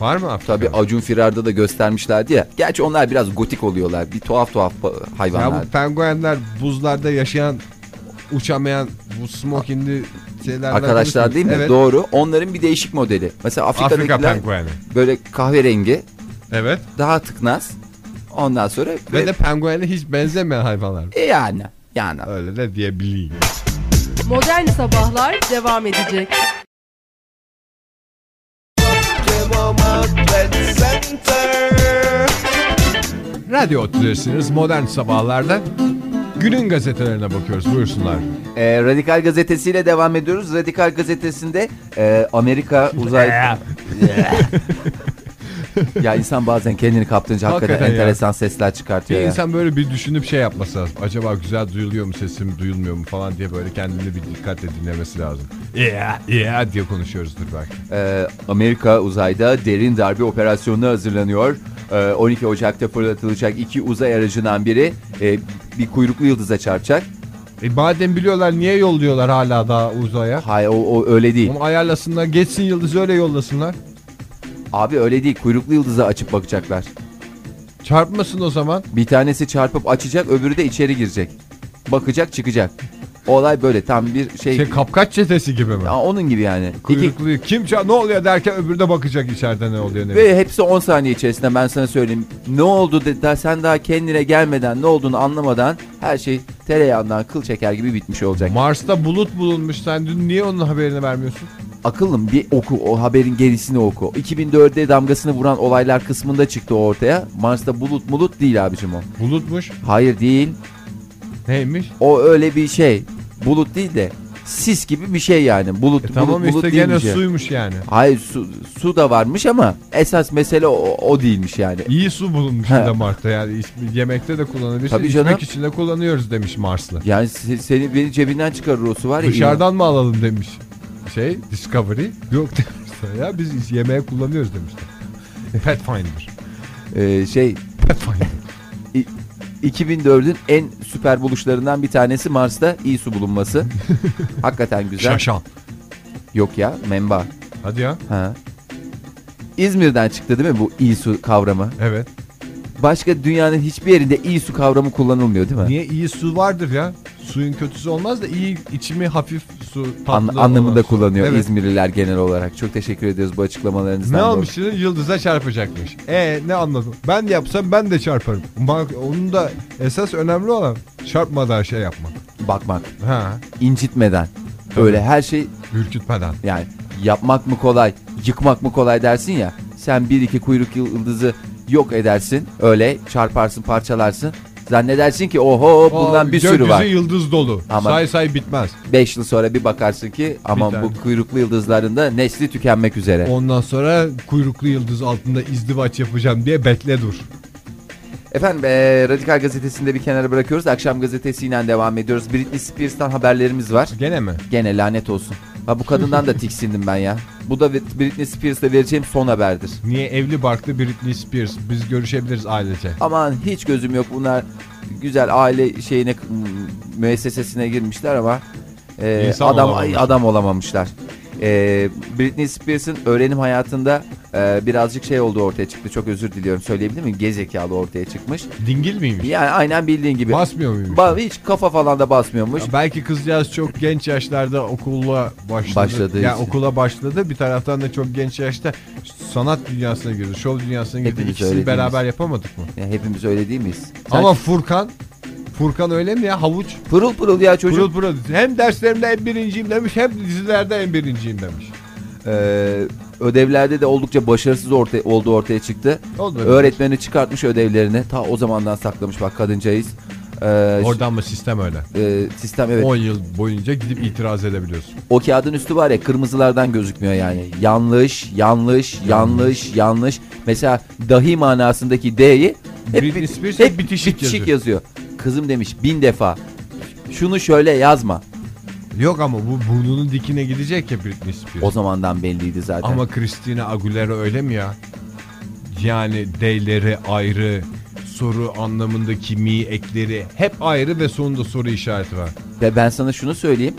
Speaker 1: Var mı Afrika'da?
Speaker 4: Tabi Acun Firar'da da göstermişlerdi ya. Gerçi onlar biraz gotik oluyorlar. Bir tuhaf tuhaf ba-
Speaker 1: Ya
Speaker 4: hayvanlar.
Speaker 1: bu penguenler buzlarda yaşayan, uçamayan bu smokingli şeylerden...
Speaker 4: Arkadaşlar
Speaker 1: birisi.
Speaker 4: değil mi?
Speaker 1: Evet.
Speaker 4: Doğru. Onların bir değişik modeli. Mesela
Speaker 1: Afrika
Speaker 4: Afrika'dakiler
Speaker 1: pengueni.
Speaker 4: böyle kahverengi,
Speaker 1: Evet.
Speaker 4: daha tıknaz. Ondan sonra
Speaker 1: Ve de penguene hiç benzemeyen hayvanlar.
Speaker 4: E yani yani.
Speaker 1: Öyle de diyebileyim.
Speaker 3: Modern Sabahlar devam edecek.
Speaker 1: Radyo Otlu'dasınız modern sabahlarda. Günün gazetelerine bakıyoruz. Buyursunlar.
Speaker 4: E, Radikal gazetesiyle devam ediyoruz. Radikal gazetesinde e, Amerika uzay e, ya insan bazen kendini kaptırınca hakikaten,
Speaker 1: Hakikaten ya.
Speaker 4: enteresan sesler
Speaker 1: Bir
Speaker 4: çıkartıyor ya.
Speaker 1: insan böyle bir düşünüp şey yapması lazım. Acaba güzel duyuluyor mu sesim duyulmuyor mu falan diye böyle kendini bir dikkatle dinlemesi lazım. Ya ya diye konuşuyoruzdur belki.
Speaker 4: E, Amerika uzayda derin darbe operasyonuna hazırlanıyor. E, 12 Ocak'ta fırlatılacak iki uzay aracından biri e, bir kuyruklu yıldıza çarpacak.
Speaker 1: E madem biliyorlar niye yolluyorlar hala daha uzaya?
Speaker 4: Hayır o, o öyle değil.
Speaker 1: Onu ayarlasınlar geçsin yıldız öyle yollasınlar.
Speaker 4: Abi öyle değil. Kuyruklu yıldıza açıp bakacaklar.
Speaker 1: Çarpmasın o zaman.
Speaker 4: Bir tanesi çarpıp açacak öbürü de içeri girecek. Bakacak çıkacak. Olay böyle tam bir şey.
Speaker 1: Şey kapkaç çetesi gibi mi?
Speaker 4: Ya onun gibi yani. İki-
Speaker 1: Kuyrukluyu kim ça- ne oluyor derken öbürü de bakacak içeride ne oluyor ne.
Speaker 4: ve hepsi 10 saniye içerisinde ben sana söyleyeyim. Ne oldu de, da sen daha kendine gelmeden ne olduğunu anlamadan her şey tereyağından kıl çeker gibi bitmiş olacak.
Speaker 1: Mars'ta bulut bulunmuş. Sen dün niye onun haberini vermiyorsun?
Speaker 4: Akıllım bir oku o haberin gerisini oku. 2004'de damgasını vuran olaylar kısmında çıktı o ortaya. Mars'ta bulut mulut değil abicim o.
Speaker 1: Bulutmuş.
Speaker 4: Hayır değil.
Speaker 1: Neymiş? E
Speaker 4: O öyle bir şey. Bulut değil de sis gibi bir şey yani. Bulut
Speaker 1: E
Speaker 4: bulut
Speaker 1: tamam
Speaker 4: bulut
Speaker 1: işte
Speaker 4: değil
Speaker 1: gene
Speaker 4: bir şey.
Speaker 1: suymuş yani.
Speaker 4: Hayır su, su da varmış ama esas mesele o, o değilmiş yani.
Speaker 1: İyi su bulunmuş
Speaker 4: He.
Speaker 1: bir de Mart'ta yani ismi- yemekte de kullanabilirsin.
Speaker 4: Tabii
Speaker 1: içmek
Speaker 4: canım.
Speaker 1: için de kullanıyoruz demiş Marslı.
Speaker 4: Yani se- seni beni cebinden çıkarır o su var ya.
Speaker 1: Dışarıdan mı alalım demiş. Şey Discovery yok demişler ya biz is- yemeğe kullanıyoruz demişler. Pathfinder.
Speaker 4: Ee, şey
Speaker 1: Pathfinder.
Speaker 4: 2004'ün en süper buluşlarından bir tanesi Mars'ta iyi su bulunması. Hakikaten güzel.
Speaker 1: Şaşal.
Speaker 4: Yok ya memba.
Speaker 1: Hadi ya.
Speaker 4: Ha. İzmir'den çıktı değil mi bu iyi su kavramı?
Speaker 1: Evet.
Speaker 4: Başka dünyanın hiçbir yerinde iyi su kavramı kullanılmıyor değil mi?
Speaker 1: Niye iyi su vardır ya? Suyun kötüsü olmaz da iyi içimi hafif su tatlı
Speaker 4: An-
Speaker 1: olan
Speaker 4: anlamında
Speaker 1: su.
Speaker 4: kullanıyor
Speaker 1: Evet.
Speaker 4: İzmirliler genel olarak. Çok teşekkür ediyoruz bu açıklamalarınızdan.
Speaker 1: Ne
Speaker 4: dolayı.
Speaker 1: almışsın? Yıldıza çarpacakmış. E ne anladım? Ben de yapsam ben de çarparım. Bak onun da esas önemli olan çarpmadan şey yapmak.
Speaker 4: bakmak.
Speaker 1: Ha,
Speaker 4: incitmeden. Böyle her şey
Speaker 1: ürkütmeden.
Speaker 4: yani yapmak mı kolay, yıkmak mı kolay dersin ya. Sen bir iki kuyruk yıldızı yok edersin. Öyle çarparsın, parçalarsın. Zannedersin ki oho bundan
Speaker 1: Aa,
Speaker 4: bir sürü var.
Speaker 1: Gökyüzü yıldız dolu.
Speaker 4: Ama-
Speaker 1: Say say bitmez.
Speaker 4: 5 yıl sonra bir bakarsın ki
Speaker 1: Bir
Speaker 4: aman bu
Speaker 1: tane.
Speaker 4: kuyruklu yıldızların da nesli tükenmek üzere.
Speaker 1: Ondan sonra kuyruklu yıldız altında izdivaç yapacağım diye bekle dur.
Speaker 4: Efendim eee, Radikal Gazetesi'ni de bir kenara bırakıyoruz. Akşam gazetesiyle devam ediyoruz. Britney Spears'tan haberlerimiz var.
Speaker 1: Gene mi?
Speaker 4: Gene lanet olsun. Ha bu kadından da tiksindim ben ya. Bu da Britney Spears'la vereceğim son haberdir.
Speaker 1: Niye evli barklı Britney Spears? Biz görüşebiliriz ailece.
Speaker 4: Aman hiç gözüm yok bunlar güzel aile şeyine müessesesine girmişler ama e,
Speaker 1: İnsan
Speaker 4: adam
Speaker 1: olamamışlar.
Speaker 4: adam olamamışlar. E, Britney Spears'ın öğrenim hayatında e, birazcık şey olduğu ortaya çıktı. Çok özür diliyorum söyleyebilir miyim? Gezekalı ortaya çıkmış.
Speaker 1: Dingil miymiş?
Speaker 4: Yani aynen bildiğin gibi.
Speaker 1: Basmıyor muymuş?
Speaker 4: Ba- hiç kafa falan da basmıyormuş.
Speaker 1: Ya belki kızcağız çok genç yaşlarda okula başladı.
Speaker 4: Başladığı
Speaker 1: yani
Speaker 4: için.
Speaker 1: okula başladı. Bir taraftan da çok genç yaşta sanat dünyasına girdi, şov dünyasına girdi.
Speaker 4: Hepimiz öyle
Speaker 1: İkisini beraber yapamadık mı?
Speaker 4: Ya hepimiz öyle değil miyiz? Sen
Speaker 1: Ama Furkan Furkan öyle mi ya? Havuç.
Speaker 4: pırıl pırıl ya çocuk.
Speaker 1: Pırıl pırıl. Hem derslerimde en birinciyim demiş hem dizilerde en birinciyim demiş.
Speaker 4: Ee, ödevlerde de oldukça başarısız orta- olduğu ortaya çıktı.
Speaker 1: Oldu.
Speaker 4: Öğretmeni çıkartmış ödevlerini. Ta o zamandan saklamış bak kadıncağız. Ee,
Speaker 1: Oradan mı sistem öyle?
Speaker 4: e, sistem evet.
Speaker 1: 10 yıl boyunca gidip itiraz edebiliyorsun.
Speaker 4: O kağıdın üstü var ya kırmızılardan gözükmüyor yani. Yanlış, yanlış, yanlış, yanlış. Mesela dahi manasındaki D'yi hep,
Speaker 1: Britney
Speaker 4: bit-
Speaker 1: Spears
Speaker 4: hep
Speaker 1: hep bitişik yazıyor.
Speaker 4: Kızım demiş bin defa. Şunu şöyle yazma.
Speaker 1: Yok ama bu burnunun dikine gidecek ya Britney Spears.
Speaker 4: O zamandan belliydi zaten.
Speaker 1: Ama Christina Aguilera öyle mi ya? Yani D'leri ayrı, soru anlamındaki mi ekleri hep ayrı ve sonunda soru işareti var.
Speaker 4: Ve ben sana şunu söyleyeyim.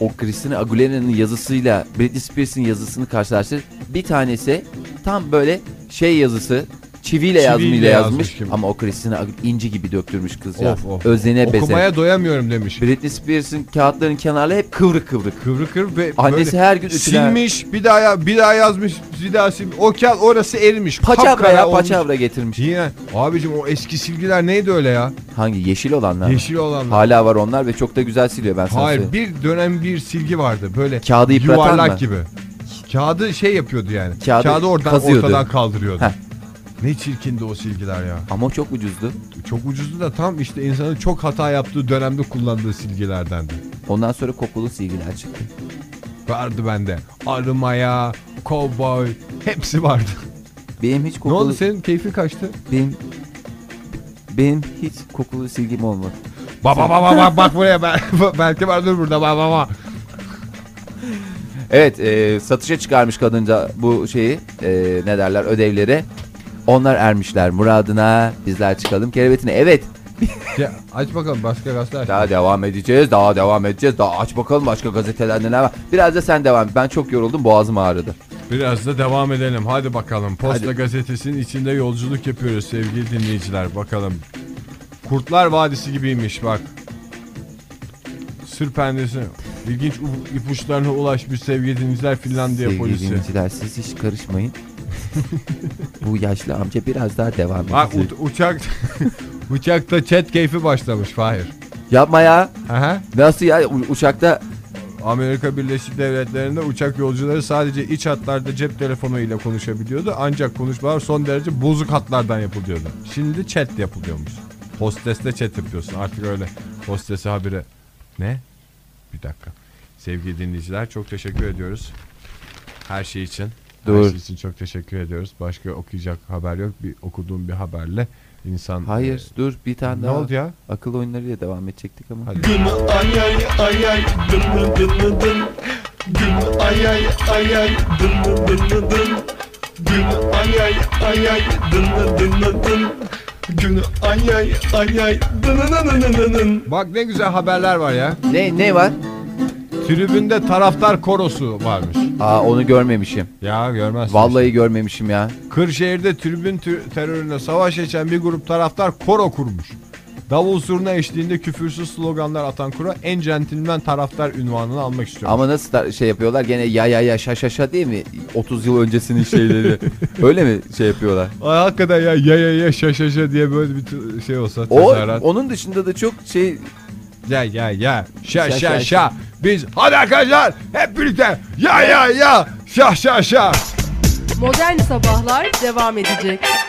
Speaker 4: O Christina Aguilera'nın yazısıyla Britney Spears'ın yazısını karşılaştır. Bir tanesi tam böyle şey yazısı çiviyle,
Speaker 1: Çiviyle
Speaker 4: yazmayla
Speaker 1: yazmış
Speaker 4: yazmış.
Speaker 1: gibi.
Speaker 4: Ama o Christina Agu- inci gibi döktürmüş kız ya.
Speaker 1: Of, of.
Speaker 4: Özene beze.
Speaker 1: Okumaya doyamıyorum demiş.
Speaker 4: Britney Spears'ın kağıtlarının kenarları hep kıvrık kıvrık.
Speaker 1: Kıvrı kıvrı ve
Speaker 4: Annesi
Speaker 1: böyle
Speaker 4: her gün ütüler.
Speaker 1: silmiş, bir daha ya- bir daha yazmış, bir daha silmiş. O kağıt orası erimiş.
Speaker 4: Paçavra
Speaker 1: kapkara
Speaker 4: ya
Speaker 1: olmuş.
Speaker 4: paçavra getirmiş.
Speaker 1: Yine abicim o eski silgiler neydi öyle ya?
Speaker 4: Hangi yeşil olanlar? mı?
Speaker 1: Yeşil olanlar.
Speaker 4: Hala var onlar ve çok da güzel siliyor ben sana
Speaker 1: Hayır
Speaker 4: söyleyeyim.
Speaker 1: bir dönem bir silgi vardı böyle
Speaker 4: Kağıdı yıpratan
Speaker 1: yuvarlak
Speaker 4: mı?
Speaker 1: gibi. Kağıdı şey yapıyordu yani.
Speaker 4: Kağıdı
Speaker 1: Kağıdı, oradan
Speaker 4: kazıyordu.
Speaker 1: ortadan kaldırıyordu.
Speaker 4: Heh.
Speaker 1: Ne çirkindi o silgiler ya.
Speaker 4: Ama o çok ucuzdu.
Speaker 1: Çok ucuzdu da tam işte insanın çok hata yaptığı dönemde kullandığı silgilerdendi.
Speaker 4: Ondan sonra kokulu silgiler çıktı.
Speaker 1: Vardı bende. Arımaya, cowboy hepsi vardı.
Speaker 4: Benim hiç
Speaker 1: ne
Speaker 4: kokulu...
Speaker 1: oldu senin keyfin kaçtı?
Speaker 4: Benim benim hiç kokulu silgim olmadı.
Speaker 1: Baba baba bak bak buraya ben, belki vardır burada baba baba.
Speaker 4: Evet e, satışa çıkarmış kadınca bu şeyi e, ne derler ödevleri. Onlar ermişler muradına bizler çıkalım kerevetine. Evet
Speaker 1: Ya, aç bakalım başka gazete aç.
Speaker 4: daha devam edeceğiz daha devam edeceğiz. Daha aç bakalım başka gazetelerde neler var. Biraz da sen devam et ben çok yoruldum boğazım ağrıdı.
Speaker 1: Biraz da devam edelim. Hadi bakalım. Posta gazetesinin içinde yolculuk yapıyoruz sevgili dinleyiciler. Bakalım. Kurtlar Vadisi gibiymiş bak. Sürpendesi. İlginç u- ipuçlarına ulaşmış sevgili dinleyiciler Finlandiya
Speaker 4: Sevgili
Speaker 1: polisi.
Speaker 4: dinleyiciler, siz hiç karışmayın. bu yaşlı amca biraz daha devam
Speaker 1: Ha,
Speaker 4: edecek.
Speaker 1: ut- uçak uçakta chat keyfi başlamış Fahir.
Speaker 4: Yapma ya
Speaker 1: Aha.
Speaker 4: nasıl ya U- uçakta
Speaker 1: Amerika Birleşik Devletleri'nde uçak yolcuları sadece iç hatlarda cep telefonu ile konuşabiliyordu. Ancak konuşmalar son derece bozuk hatlardan yapılıyordu. Şimdi chat yapılıyormuş. Hostesle chat yapıyorsun. Artık öyle hostese habire. Ne? Bir dakika. Sevgili dinleyiciler çok teşekkür ediyoruz. Her şey için. Her
Speaker 4: Dur.
Speaker 1: şey için çok teşekkür ediyoruz. Başka okuyacak haber yok. Bir okuduğum bir haberle insan...
Speaker 4: hayır dur bir tane
Speaker 1: Ne
Speaker 4: daha
Speaker 1: oldu ya?
Speaker 4: akıl oyunlarıyla devam edecektik ama.
Speaker 1: Hadi. Ee, Bak ne güzel haberler var ya.
Speaker 4: Ne ne var?
Speaker 1: Tribünde taraftar korosu varmış.
Speaker 4: Aa onu görmemişim.
Speaker 1: Ya görmezsin.
Speaker 4: Vallahi görmemişim ya.
Speaker 1: Kırşehir'de tribün tü- terörüne savaş geçen bir grup taraftar koro kurmuş. Davul zurna eşliğinde küfürsüz sloganlar atan koro en centilmen taraftar ünvanını almak istiyor.
Speaker 4: Ama nasıl tar- şey yapıyorlar? Gene ya ya ya şa şa şa değil mi? 30 yıl öncesinin şeyleri. Öyle mi şey yapıyorlar?
Speaker 1: Ay, hakikaten ya ya ya ya şa şa şa diye böyle bir tü- şey olsa
Speaker 4: O
Speaker 1: tezahürat.
Speaker 4: onun dışında da çok şey
Speaker 1: Ya ya ya. Şa
Speaker 4: Şa,
Speaker 1: şa
Speaker 4: şa,
Speaker 1: şa. Biz hadi arkadaşlar hep birlikte ya ya ya. Şa şa şa.
Speaker 3: Modern Sabahlar devam edecek.